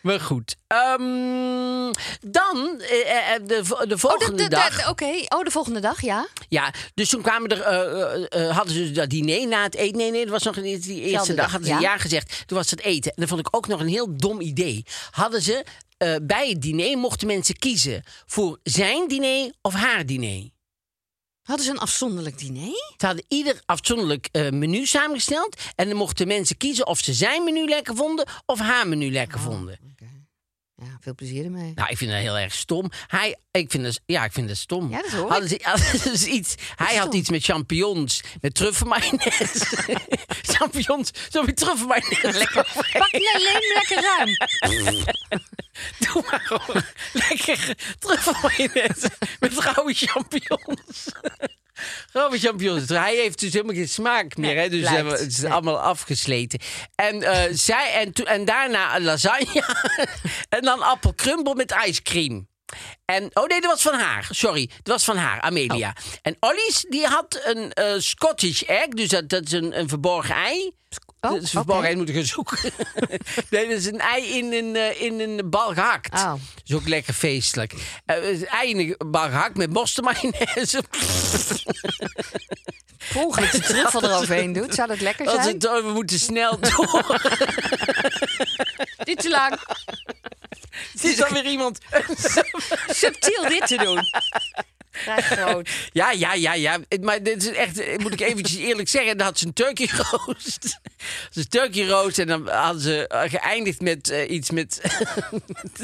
[SPEAKER 2] Maar goed. Ehm, dan eh, eh, de, vo- de
[SPEAKER 1] Oh,
[SPEAKER 2] [laughs] volgende
[SPEAKER 1] de- de- de-
[SPEAKER 2] dag.
[SPEAKER 1] Oké, oh, de volgende dag, ja.
[SPEAKER 2] Ja, dus toen kwamen er, eh, eh, eh, hadden ze dat diner na het eten. Nee, nee, dat was nog niet die eerste
[SPEAKER 1] Zelfde
[SPEAKER 2] dag.
[SPEAKER 1] dag,
[SPEAKER 2] Hadden ze ja.
[SPEAKER 1] ja.
[SPEAKER 2] gezegd. Toen was het eten. En dat vond ik ook nog een heel dom idee. Hadden ze eh, bij het diner mochten mensen kiezen voor zijn diner of haar diner.
[SPEAKER 1] Hadden ze een afzonderlijk diner?
[SPEAKER 2] Ze hadden ieder afzonderlijk eh, menu samengesteld. En dan mochten mensen kiezen of ze zijn menu lekker vonden of haar menu lekker vonden.
[SPEAKER 1] Oh, Ja, veel plezier [laughs] ermee.
[SPEAKER 2] Nou, ik vind dat heel erg stom. Hij, ik vind dat, ja, ik vind dat stom.
[SPEAKER 1] Ja, dat hoor ik.
[SPEAKER 2] Hadden ze- [laughs] hadden ze iets, hij had
[SPEAKER 1] stom.
[SPEAKER 2] iets met champignons, met truffelmayonaise. [laughs] champignons, zo met truffelmayonaise. [laughs] Lekker.
[SPEAKER 1] Pak je alleen lekker ruim.
[SPEAKER 2] [laughs] Doe maar gewoon. Lekker truffelmayonaise met rauwe champignons. [laughs] Rauwe champignons. Hij heeft dus helemaal geen smaak meer. hè? Dus
[SPEAKER 1] blijkt.
[SPEAKER 2] eh, het is
[SPEAKER 1] Nee.
[SPEAKER 2] allemaal afgesleten. En, eh, zij, en, toen- en daarna een lasagne. [laughs] en dan appelkrumbel met ijscream. En, oh nee, dat was van haar. Sorry, dat was van haar, Amelia.
[SPEAKER 1] Oh.
[SPEAKER 2] En Ollie's, die had een eh, Scottish egg. Dus dat, dat is een, een verborgen ei.
[SPEAKER 1] Oh,
[SPEAKER 2] dat is een
[SPEAKER 1] oké.
[SPEAKER 2] verborgen ei, moet ik gaan zoeken. [laughs] nee, dat is een ei in een, eh, in een bal gehakt.
[SPEAKER 1] Oh.
[SPEAKER 2] Dat is ook lekker feestelijk. Uh, ei in een bal gehakt met [laughs] mosterdmayonaise. Pff,
[SPEAKER 1] Per ongeluk de truffel eroverheen doet, zou dat lekker
[SPEAKER 2] dat is
[SPEAKER 1] zijn?
[SPEAKER 2] het, oh, we moeten snel door.
[SPEAKER 1] Dit te lang.
[SPEAKER 2] Het is alweer iemand.
[SPEAKER 1] Subtiel dit te doen. Krijg groot.
[SPEAKER 2] Ja, ja, ja, ja. Maar dit is echt, eh, moet ik eventjes [laughs] eerlijk zeggen, dan had ze een turkey roast. [laughs] Dat is een turkey roast en dan hadden ze eh, geëindigd met eh, iets met... [laughs]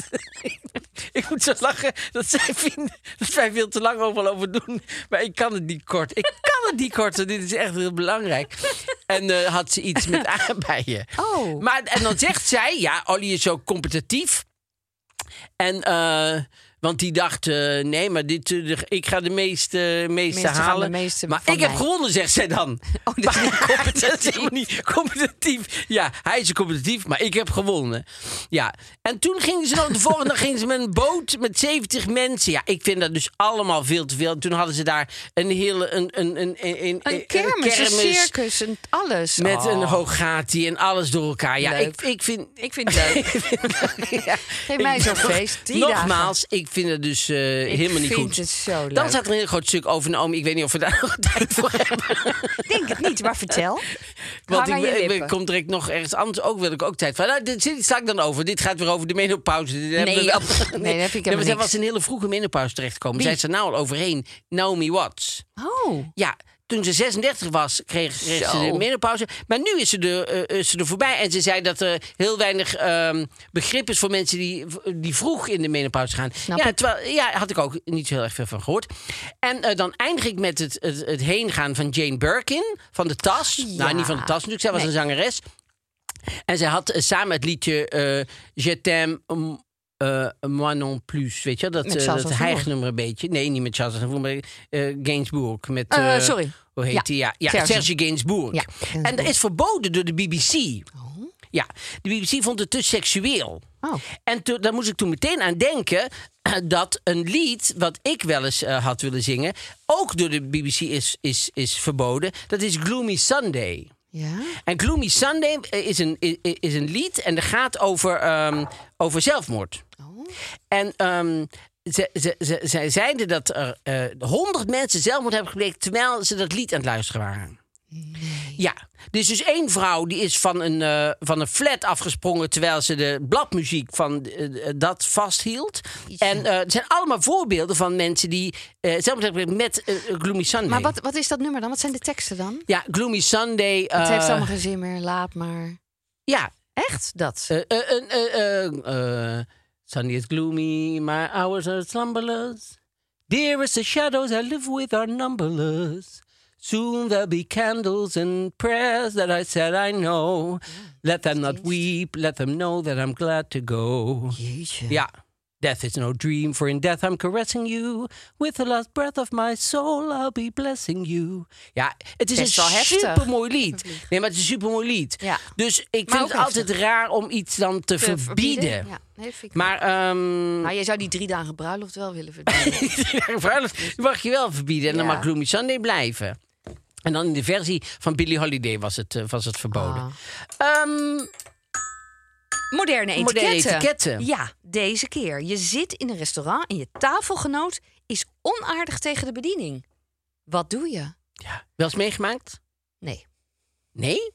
[SPEAKER 2] ik moet zo lachen dat zij vinden dat wij veel te lang overal over doen. Maar ik kan het niet kort. Ik kan het niet kort, want dit is echt heel belangrijk. En eh, had ze iets met aardbeien.
[SPEAKER 1] Oh.
[SPEAKER 2] Maar, en dan zegt zij, ja, Olly is zo competitief. En, eh, want die dacht, eh, nee, maar dit, eh, de- ik ga de meeste, meeste,
[SPEAKER 1] Meeste gaan
[SPEAKER 2] halen.
[SPEAKER 1] de meeste
[SPEAKER 2] maar
[SPEAKER 1] van
[SPEAKER 2] ik heb
[SPEAKER 1] mij.
[SPEAKER 2] gewonnen, zegt zij dan.
[SPEAKER 1] [laughs] Oh, dat is niet
[SPEAKER 2] Maar dat is helemaal niet competitief. Ja, hij is competitief, maar ik heb gewonnen. Ja, en toen gingen ze dan de volgende dag gingen ze met een boot met 70 mensen. Ja, ik vind dat dus allemaal veel te veel. Toen hadden ze daar een hele... Een, een, een, een, een,
[SPEAKER 1] Een kermis, een circus, een alles.
[SPEAKER 2] Eh, Met
[SPEAKER 1] Oh.
[SPEAKER 2] een hoogati en alles door elkaar. Ja,
[SPEAKER 1] Leuk.
[SPEAKER 2] ik, ik vind...
[SPEAKER 1] Ik vind het leuk.
[SPEAKER 2] Ja.
[SPEAKER 1] Geef mij
[SPEAKER 2] Ik-
[SPEAKER 1] zo'n feest. Die
[SPEAKER 2] Nogmaals, ik vind het dus eh,
[SPEAKER 1] Ik
[SPEAKER 2] helemaal niet
[SPEAKER 1] vind
[SPEAKER 2] goed.
[SPEAKER 1] het zo leuk.
[SPEAKER 2] Dan staat er een heel groot stuk over Naomi. Ik weet niet of we daar nog [laughs] tijd voor hebben.
[SPEAKER 1] Ik denk het niet, maar vertel.
[SPEAKER 2] Want
[SPEAKER 1] aan
[SPEAKER 2] ik,
[SPEAKER 1] je
[SPEAKER 2] ik- ik
[SPEAKER 1] lippen.
[SPEAKER 2] kom direct nog ergens anders. Ook wil ik ook tijd voor. Nou, dit, dit sla ik dan over. Dit gaat weer over de menopauze. Dit hebben we-
[SPEAKER 1] joh. [laughs] Nee, dat vind ik helemaal
[SPEAKER 2] maar zij
[SPEAKER 1] niks.
[SPEAKER 2] was een hele vroege menopauze terechtgekomen.
[SPEAKER 1] Wie?
[SPEAKER 2] Zij is er nou al overheen. Naomi Watts.
[SPEAKER 1] Oh.
[SPEAKER 2] Ja, toen ze 36 was, kreeg, kreeg ze
[SPEAKER 1] Zo.
[SPEAKER 2] de menopauze. Maar nu is ze, er, eh, is ze er voorbij. En ze zei dat er heel weinig ehm, begrip is voor mensen die, die vroeg in de menopauze gaan.
[SPEAKER 1] Snap
[SPEAKER 2] ja,
[SPEAKER 1] ik.
[SPEAKER 2] terwijl, ja, had ik ook niet zo heel erg veel van gehoord. En eh, dan eindig ik met het, het, het heengaan van Jane Birkin, van de tas. Nou,
[SPEAKER 1] Ah, Ja.
[SPEAKER 2] niet van de tas natuurlijk, zij was
[SPEAKER 1] Nee.
[SPEAKER 2] een zangeres. En zij had eh, samen het liedje eh Je t'aime mm, eh, moi non plus. Weet je, wel, dat,
[SPEAKER 1] Met
[SPEAKER 2] eh,
[SPEAKER 1] Charles
[SPEAKER 2] dat
[SPEAKER 1] Aznavour.
[SPEAKER 2] hijgnummer een beetje. Nee, niet met Charles Aznavour, maar eh Gainsbourg. Met,
[SPEAKER 1] Eh,
[SPEAKER 2] eh,
[SPEAKER 1] sorry.
[SPEAKER 2] Hoe heet
[SPEAKER 1] Ja,
[SPEAKER 2] die? Ja, ja Serge.
[SPEAKER 1] Serge.
[SPEAKER 2] Gainsbourg.
[SPEAKER 1] Ja, Oh.
[SPEAKER 2] En dat
[SPEAKER 1] Gainsbourg.
[SPEAKER 2] is verboden door de BBC. Ja, de BBC vond het te seksueel.
[SPEAKER 1] Oh.
[SPEAKER 2] En toen, daar moest ik toen meteen aan denken [clears throat] eh, dat een lied wat ik wel eens eh, had willen zingen, ook door de BBC is, is, is verboden. Dat is Gloomy Sunday.
[SPEAKER 1] Ja.
[SPEAKER 2] En Gloomy Sunday eh, is een, i- i- is een lied en dat gaat over, ehm, over zelfmoord.
[SPEAKER 1] Oh.
[SPEAKER 2] En ehm, ze, ze, ze, zij zeiden dat er eh, honderd mensen zelfmoord hebben gepleegd terwijl ze dat lied aan het luisteren waren. Ja, er is dus één vrouw die is van een, eh, van een flat afgesprongen terwijl ze de bladmuziek van eh, eh, dat vasthield. En eh, het zijn allemaal voorbeelden van mensen die eh zelfmoord hebben gepleegd met eh, Gloomy Sunday.
[SPEAKER 1] Maar wat, wat is dat nummer dan? Wat zijn de teksten dan?
[SPEAKER 2] Ja, Gloomy Sunday.
[SPEAKER 1] het heeft
[SPEAKER 2] eh,
[SPEAKER 1] allemaal geen zin meer. Laat maar.
[SPEAKER 2] Ja,
[SPEAKER 1] Echt? Dat?
[SPEAKER 2] Eh, eh, eh, eh, eh, eh, Sunday is gloomy, my hours are slumberless. Dearest, the shadows I live with are numberless. Soon there'll be candles and prayers that I said I
[SPEAKER 1] Mm,
[SPEAKER 2] know. Let them not weep, let them know that I'm glad to go.
[SPEAKER 1] Jeetje.
[SPEAKER 2] Ja. Death is no dream, for in death I'm caressing you. With the last breath of my soul, I'll be blessing you. Ja, het is
[SPEAKER 1] Best
[SPEAKER 2] een
[SPEAKER 1] wel heftig.
[SPEAKER 2] supermooi lied. Nee, maar het is een supermooi lied.
[SPEAKER 1] Ja.
[SPEAKER 2] Dus ik
[SPEAKER 1] Maar
[SPEAKER 2] vind het
[SPEAKER 1] ook
[SPEAKER 2] altijd raar om iets dan te,
[SPEAKER 1] Te
[SPEAKER 2] Eh, verbieden.
[SPEAKER 1] Ja, nee, vind ik
[SPEAKER 2] Maar, ehm
[SPEAKER 1] Nou, jij zou die drie dagen bruiloft wel willen verdienen.
[SPEAKER 2] [laughs] bruiloft mag je wel verbieden. En dan
[SPEAKER 1] Ja.
[SPEAKER 2] mag Gloomy Sunday blijven. En dan in de versie van Billie Holiday was het, eh, was het
[SPEAKER 1] Ah.
[SPEAKER 2] verboden. Ehm,
[SPEAKER 1] Moderne etiketten.
[SPEAKER 2] Moderne etiketten.
[SPEAKER 1] Ja, deze keer. Je zit in een restaurant en je tafelgenoot is onaardig tegen de bediening. Wat doe je?
[SPEAKER 2] ja. Wel eens meegemaakt?
[SPEAKER 1] Nee.
[SPEAKER 2] Nee?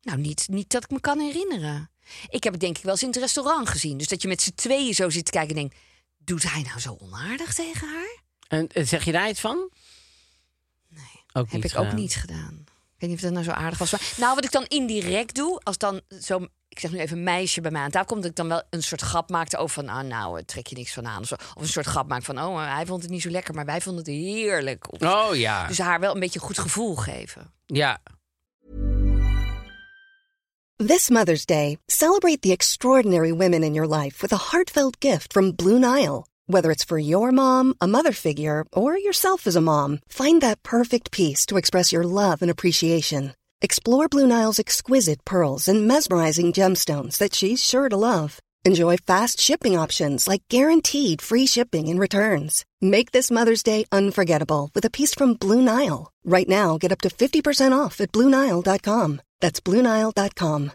[SPEAKER 1] Nou, niet, niet dat ik me kan herinneren. Ik heb het denk ik wel eens in het restaurant gezien. Dus dat je met z'n tweeën zo zit te kijken en denkt... doet hij nou zo onaardig tegen haar?
[SPEAKER 2] En eh, zeg je daar iets van? Nee. Ook
[SPEAKER 1] heb
[SPEAKER 2] niet
[SPEAKER 1] ik ook
[SPEAKER 2] gedaan.
[SPEAKER 1] niet gedaan. Ik weet niet of dat nou zo aardig was. Maar, nou, wat ik dan indirect doe, als dan zo'n, ik zeg nu even een meisje bij mij aan tafel komt, dat ik dan wel een soort grap maakte over van, ah, nou, eh, trek je niks van aan. Of, zo. of een soort grap maak van, oh, eh, hij vond het niet zo lekker, maar wij vonden het heerlijk. Of-
[SPEAKER 2] Oh ja.
[SPEAKER 1] Dus haar wel een beetje een goed gevoel geven.
[SPEAKER 2] ja.
[SPEAKER 3] This Mother's Day, celebrate the extraordinary women in your life with a heartfelt gift from Blue Nile. Whether it's for your mom, a mother figure, or yourself as a mom, find that perfect piece to express your love and appreciation. Explore Blue Nile's exquisite pearls and mesmerizing gemstones that she's sure to love. Enjoy fast shipping options like guaranteed free shipping and returns. Make this Mother's Day unforgettable with a piece from Blue Nile. Right now, get up to 50% off at BlueNile.com. That's BlueNile.com.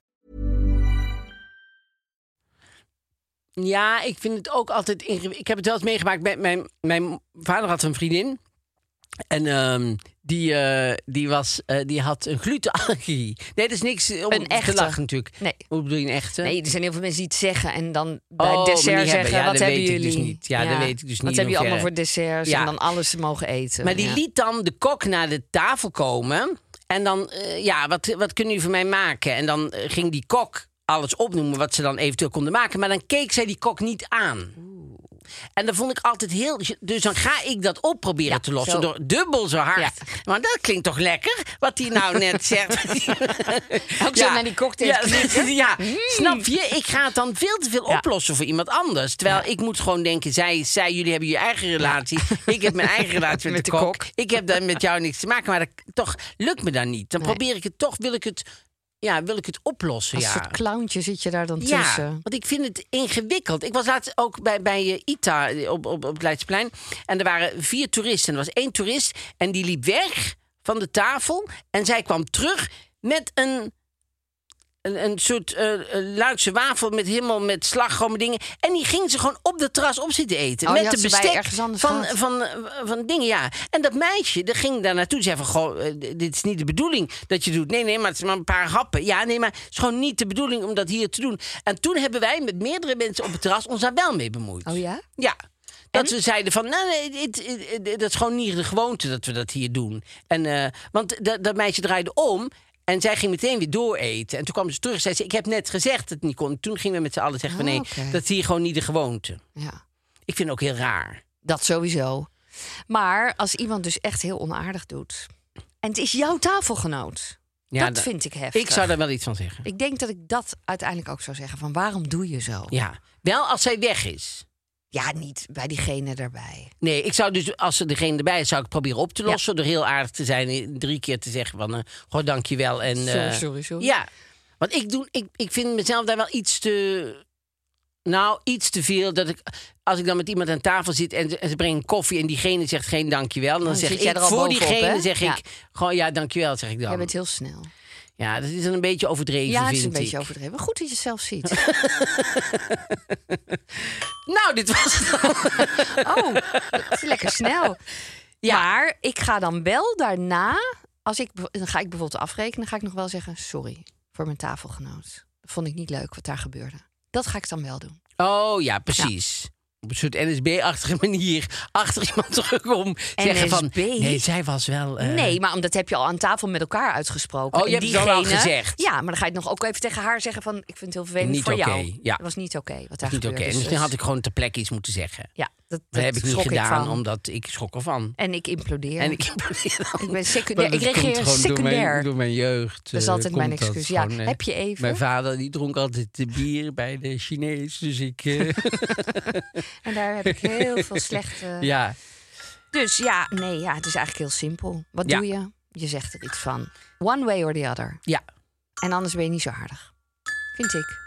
[SPEAKER 2] Ja, ik vind het ook altijd ingewikkeld. Ik heb het wel eens meegemaakt. Mijn, mijn, mijn vader had een vriendin. En ehm, die, eh, die, was, eh, die had een glutenallergie. Nee, dat is niks om
[SPEAKER 1] Een
[SPEAKER 2] te
[SPEAKER 1] echte.
[SPEAKER 2] lachen natuurlijk.
[SPEAKER 1] Nee.
[SPEAKER 2] Hoe bedoel je een echte?
[SPEAKER 1] Nee, er zijn heel veel mensen die het zeggen en dan bij
[SPEAKER 2] Oh,
[SPEAKER 1] het
[SPEAKER 2] maar
[SPEAKER 1] dessert
[SPEAKER 2] die hebben-
[SPEAKER 1] zeggen,
[SPEAKER 2] ja,
[SPEAKER 1] wat
[SPEAKER 2] dat
[SPEAKER 1] hebben
[SPEAKER 2] weet ik
[SPEAKER 1] jullie?
[SPEAKER 2] dus niet. Ja, dat weet ik dus
[SPEAKER 1] Wat
[SPEAKER 2] niet
[SPEAKER 1] hebben jullie
[SPEAKER 2] hoe
[SPEAKER 1] allemaal
[SPEAKER 2] ver-
[SPEAKER 1] voor desserts
[SPEAKER 2] Ja.
[SPEAKER 1] en dan alles mogen eten?
[SPEAKER 2] Maar die
[SPEAKER 1] Ja.
[SPEAKER 2] liet dan de kok naar de tafel komen. En dan, eh, ja, wat, wat kunnen jullie voor mij maken? En dan eh, ging die kok alles opnoemen wat ze dan eventueel konden maken. Maar dan keek zij die kok niet aan. En dat vond ik altijd heel... Dus dan ga ik dat op proberen
[SPEAKER 1] Ja,
[SPEAKER 2] te lossen
[SPEAKER 1] zo.
[SPEAKER 2] door dubbel zo hard.
[SPEAKER 1] Ja.
[SPEAKER 2] Want dat klinkt toch lekker, wat hij nou
[SPEAKER 1] [laughs]
[SPEAKER 2] net zegt.
[SPEAKER 1] Ook zo naar die cocktails
[SPEAKER 2] Ja, [laughs] ja.
[SPEAKER 1] Mm.
[SPEAKER 2] snap je? Ik ga het dan veel te veel oplossen voor iemand anders. Terwijl ik moet gewoon denken, zij, zij, jullie hebben je eigen
[SPEAKER 1] [laughs]
[SPEAKER 2] relatie. Ik heb mijn eigen relatie met,
[SPEAKER 1] Met
[SPEAKER 2] de,
[SPEAKER 1] de
[SPEAKER 2] kok.
[SPEAKER 1] kok.
[SPEAKER 2] Ik heb daar met jou niks te maken. Maar dat, toch lukt me dat niet. Dan
[SPEAKER 1] Nee.
[SPEAKER 2] probeer ik het toch, wil ik het, ja, wil ik het oplossen.
[SPEAKER 1] Als een
[SPEAKER 2] ja.
[SPEAKER 1] soort clowntje zit je daar dan
[SPEAKER 2] Ja,
[SPEAKER 1] tussen.
[SPEAKER 2] want ik vind het ingewikkeld. Ik was laatst ook bij, bij eh, ITA op, op, op het Leidseplein. En er waren vier toeristen. En er was één toerist en die liep weg van de tafel. En zij kwam terug met een, een, een soort eh eh, Luikse wafel met helemaal met slagroom en dingen. En die ging ze gewoon op de terras op zitten eten.
[SPEAKER 1] Oh, die
[SPEAKER 2] met
[SPEAKER 1] had
[SPEAKER 2] de
[SPEAKER 1] ze bij
[SPEAKER 2] bestek
[SPEAKER 1] ergens
[SPEAKER 2] van,
[SPEAKER 1] anders
[SPEAKER 2] van,
[SPEAKER 1] gehad.
[SPEAKER 2] van, eh, van dingen, ja. En dat meisje, dat ging daar naartoe. Zei van, goh, eh, dit is niet de bedoeling dat je doet. Nee, nee, maar het is maar een paar happen. Ja, nee, maar het is gewoon niet de bedoeling om dat hier te doen. En toen hebben wij met meerdere mensen op het terras ons daar wel mee bemoeid.
[SPEAKER 1] Oh ja?
[SPEAKER 2] Ja. Dat we zeiden van, nou, nee, dit- dit- dit- dat is gewoon niet de gewoonte dat we dat hier doen. En, eh, want dat, dat meisje draaide om en zij ging meteen weer dooreten. En toen kwam ze terug en zei ze, ik heb net gezegd dat het niet kon. Toen gingen we met z'n allen zeggen van,
[SPEAKER 1] Ah,
[SPEAKER 2] nee,
[SPEAKER 1] oké.
[SPEAKER 2] dat is hier gewoon niet de gewoonte.
[SPEAKER 1] Ja,
[SPEAKER 2] Ik vind het ook heel raar.
[SPEAKER 1] dat sowieso. Maar als iemand dus echt heel onaardig doet... en het is jouw tafelgenoot,
[SPEAKER 2] Ja,
[SPEAKER 1] dat
[SPEAKER 2] da-
[SPEAKER 1] vind ik heftig.
[SPEAKER 2] Ik zou daar wel iets van zeggen.
[SPEAKER 1] Ik denk dat ik dat uiteindelijk ook zou zeggen. Van waarom doe je zo?
[SPEAKER 2] Ja, wel als zij weg is.
[SPEAKER 1] Ja, niet bij diegene daarbij.
[SPEAKER 2] Nee, ik zou dus als er degene erbij is, zou ik proberen op te
[SPEAKER 1] Ja.
[SPEAKER 2] lossen door heel aardig te zijn, en drie keer te zeggen van, eh goh, dankjewel en.
[SPEAKER 1] Sorry,
[SPEAKER 2] eh,
[SPEAKER 1] sorry, sorry.
[SPEAKER 2] Ja, want ik doe, ik, ik vind mezelf daar wel iets te Nou, iets te veel. Dat ik, als ik dan met iemand aan tafel zit en ze, en ze brengen koffie en diegene zegt geen dankjewel. Dan,
[SPEAKER 1] Dan
[SPEAKER 2] zeg
[SPEAKER 1] zit jij
[SPEAKER 2] ik
[SPEAKER 1] er al
[SPEAKER 2] voor
[SPEAKER 1] bovenop,
[SPEAKER 2] diegene
[SPEAKER 1] hè?
[SPEAKER 2] zeg
[SPEAKER 1] Ja.
[SPEAKER 2] ik gewoon ja, dankjewel zeg ik dan.
[SPEAKER 1] Jij bent heel snel.
[SPEAKER 2] Ja, dat is dan een beetje overdreven
[SPEAKER 1] ja,
[SPEAKER 2] vind
[SPEAKER 1] het is een
[SPEAKER 2] ik.
[SPEAKER 1] beetje overdreven. Maar Goed dat je het zelf
[SPEAKER 2] [laughs]
[SPEAKER 1] ziet.
[SPEAKER 2] Nou, dit was het dan.
[SPEAKER 1] Oh, dat is lekker snel. Maar ik ga dan wel daarna, als ik, dan ga ik bijvoorbeeld afrekenen, dan ga ik nog wel zeggen: sorry voor mijn tafelgenoot. Dat vond ik niet leuk wat daar gebeurde. Dat ga ik dan wel doen.
[SPEAKER 2] Oh ja, precies. Op een soort NSB-achtige [laughs] manier achter iemand terugkom. Zeggen van,
[SPEAKER 1] NSB?
[SPEAKER 2] nee, zij was wel... eh,
[SPEAKER 1] Nee, maar omdat heb je al aan tafel met elkaar uitgesproken.
[SPEAKER 2] Oh, je
[SPEAKER 1] En
[SPEAKER 2] hebt het dan al
[SPEAKER 1] diegene-
[SPEAKER 2] gezegd.
[SPEAKER 1] Ja, maar dan ga je het nog ook even tegen haar zeggen van... ik vind het heel vervelend
[SPEAKER 2] Niet
[SPEAKER 1] voor jou.
[SPEAKER 2] oké, ja.
[SPEAKER 1] Dat was niet oké wat daar
[SPEAKER 2] Niet oké.
[SPEAKER 1] gebeurde. Dus
[SPEAKER 2] Misschien
[SPEAKER 1] dat-
[SPEAKER 2] had ik gewoon ter plekke iets moeten zeggen.
[SPEAKER 1] Ja, dat,
[SPEAKER 2] Dat, heb ik niet
[SPEAKER 1] schrok
[SPEAKER 2] gedaan,
[SPEAKER 1] van.
[SPEAKER 2] omdat ik schrok ervan.
[SPEAKER 1] En ik implodeer.
[SPEAKER 2] En ik, [laughs] ik
[SPEAKER 1] ben
[SPEAKER 2] [laughs]
[SPEAKER 1] secundair. Ik reageer
[SPEAKER 2] Door
[SPEAKER 1] secundair.
[SPEAKER 2] mijn, door mijn jeugd.
[SPEAKER 1] Dat is
[SPEAKER 2] eh,
[SPEAKER 1] altijd
[SPEAKER 2] komt
[SPEAKER 1] mijn
[SPEAKER 2] dat
[SPEAKER 1] excuus. Ja,
[SPEAKER 2] gewoon, eh,
[SPEAKER 1] heb je even?
[SPEAKER 2] Mijn vader die dronk altijd eh, bier bij de Chinees. Dus
[SPEAKER 1] [laughs]
[SPEAKER 2] ik... eh,
[SPEAKER 1] En daar heb ik heel
[SPEAKER 2] [laughs]
[SPEAKER 1] veel slechte...
[SPEAKER 2] ja.
[SPEAKER 1] Dus ja, nee, ja, het is eigenlijk heel simpel. Wat
[SPEAKER 2] Ja.
[SPEAKER 1] doe je? Je zegt er iets van. One way or the other.
[SPEAKER 2] ja.
[SPEAKER 1] En anders ben je niet zo aardig. Vind ik.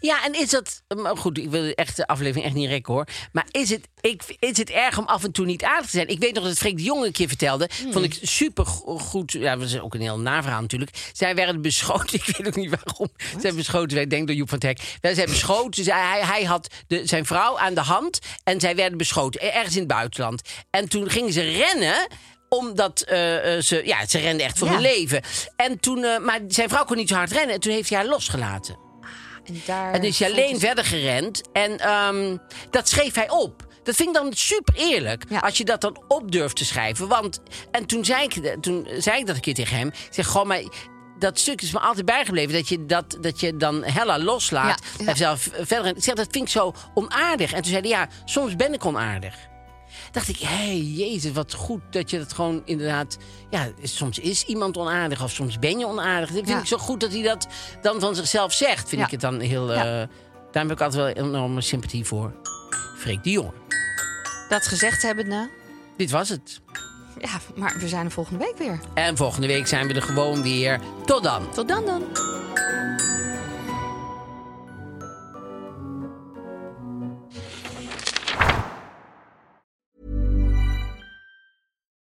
[SPEAKER 2] Ja, en is dat... Maar goed, ik wil echt de aflevering echt niet rekken, hoor. Maar is het, ik, is het erg om af en toe niet aardig te zijn? Ik weet nog dat Freek de Jong een keer vertelde. Vond ik super goed. Ja, dat is ook een heel naverhaal natuurlijk. Zij werden beschoten. [laughs] Ik weet ook niet waarom. Zij beschoten werden, ik denk door Joep van het Hek. Wij zijn beschoten. Zij, hij, hij had de, zijn vrouw aan de hand. En zij werden beschoten. e- Ergens in het buitenland. En toen gingen ze rennen omdat eh, eh, ze, ja, ze renden echt voor
[SPEAKER 1] Ja.
[SPEAKER 2] hun leven. En toen, eh, maar zijn vrouw kon niet zo hard rennen. En toen heeft hij haar losgelaten.
[SPEAKER 1] En daar.
[SPEAKER 2] En is hij alleen verder gerend. En ehm, dat schreef hij op. Dat vind ik dan super eerlijk.
[SPEAKER 1] Ja.
[SPEAKER 2] Als je dat dan op durft te schrijven. Want, en toen zei, ik, toen zei ik dat een keer tegen hem. Ik zeg gewoon, maar dat stuk is me altijd bijgebleven. Dat je, dat, dat je dan Hella loslaat.
[SPEAKER 1] Ja, ja.
[SPEAKER 2] En zelf verder. Ik zeg, dat vind ik zo onaardig. En toen zei hij, ja, soms ben ik onaardig. Dacht ik, hé, hey, jezus, wat goed dat je dat gewoon inderdaad... Ja, soms is iemand onaardig of soms ben je onaardig. Dat vind
[SPEAKER 1] Ja.
[SPEAKER 2] ik zo goed dat hij dat dan van zichzelf zegt. Vind
[SPEAKER 1] Ja.
[SPEAKER 2] ik het dan heel...
[SPEAKER 1] Ja.
[SPEAKER 2] eh, daar heb ik altijd wel enorme sympathie voor. Freek de Jong.
[SPEAKER 1] Dat gezegd hebbende.
[SPEAKER 2] Dit was het.
[SPEAKER 1] Ja, maar we zijn er volgende week weer.
[SPEAKER 2] En volgende week zijn we er gewoon weer. Tot dan.
[SPEAKER 1] Tot dan dan.